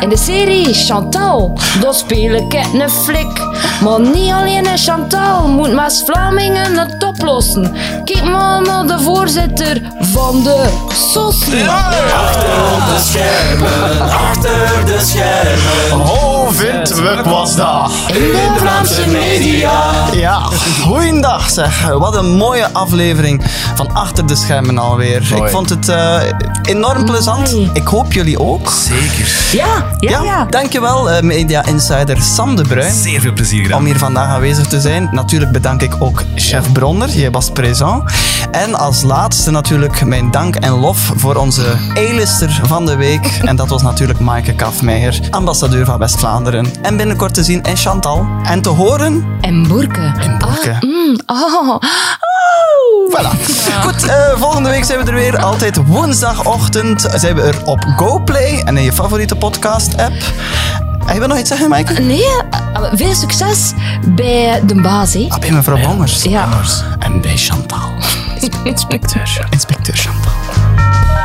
In de serie Chantal, dat speel ik in een flik. Maar niet alleen een Chantal, moet Maas Vlamingen het oplossen. Kijk maar naar de voorzitter van de SOS. Oh, Windwuk was dat. In de Vlaamse media. Ja, goeiedag zeg. Wat een mooie aflevering van Achter de Schermen alweer. Ik vond het eh, enorm plezant. Mooi. Ik hoop jullie ook. Ja, ja, ja. Dankjewel eh, media insider Sam de Bruin. Zeer veel plezier gedaan. om hier vandaag aanwezig te zijn. Natuurlijk bedank ik ook chef Bronner, jij was présent. En als laatste natuurlijk mijn dank en lof voor onze A-lister van de week. En dat was natuurlijk Maaike Kafmeijer, ambassadeur van West-Vlaanderen. En binnenkort te zien in Chantal. En te horen... En Boerke. Oké. Mm, oh. Voilà. Goed, eh, volgende week zijn we er weer. Altijd woensdagochtend zijn we er op GoPlay en in je favoriete podcast-app. En je wil nog iets zeggen, Maaike? Nee, eh, eh, veel succes bij de baas, hè. Ah, bij mevrouw Bongers. eh, Ja. En bij Chantal. Inspecteur. Inspecteur Chantal.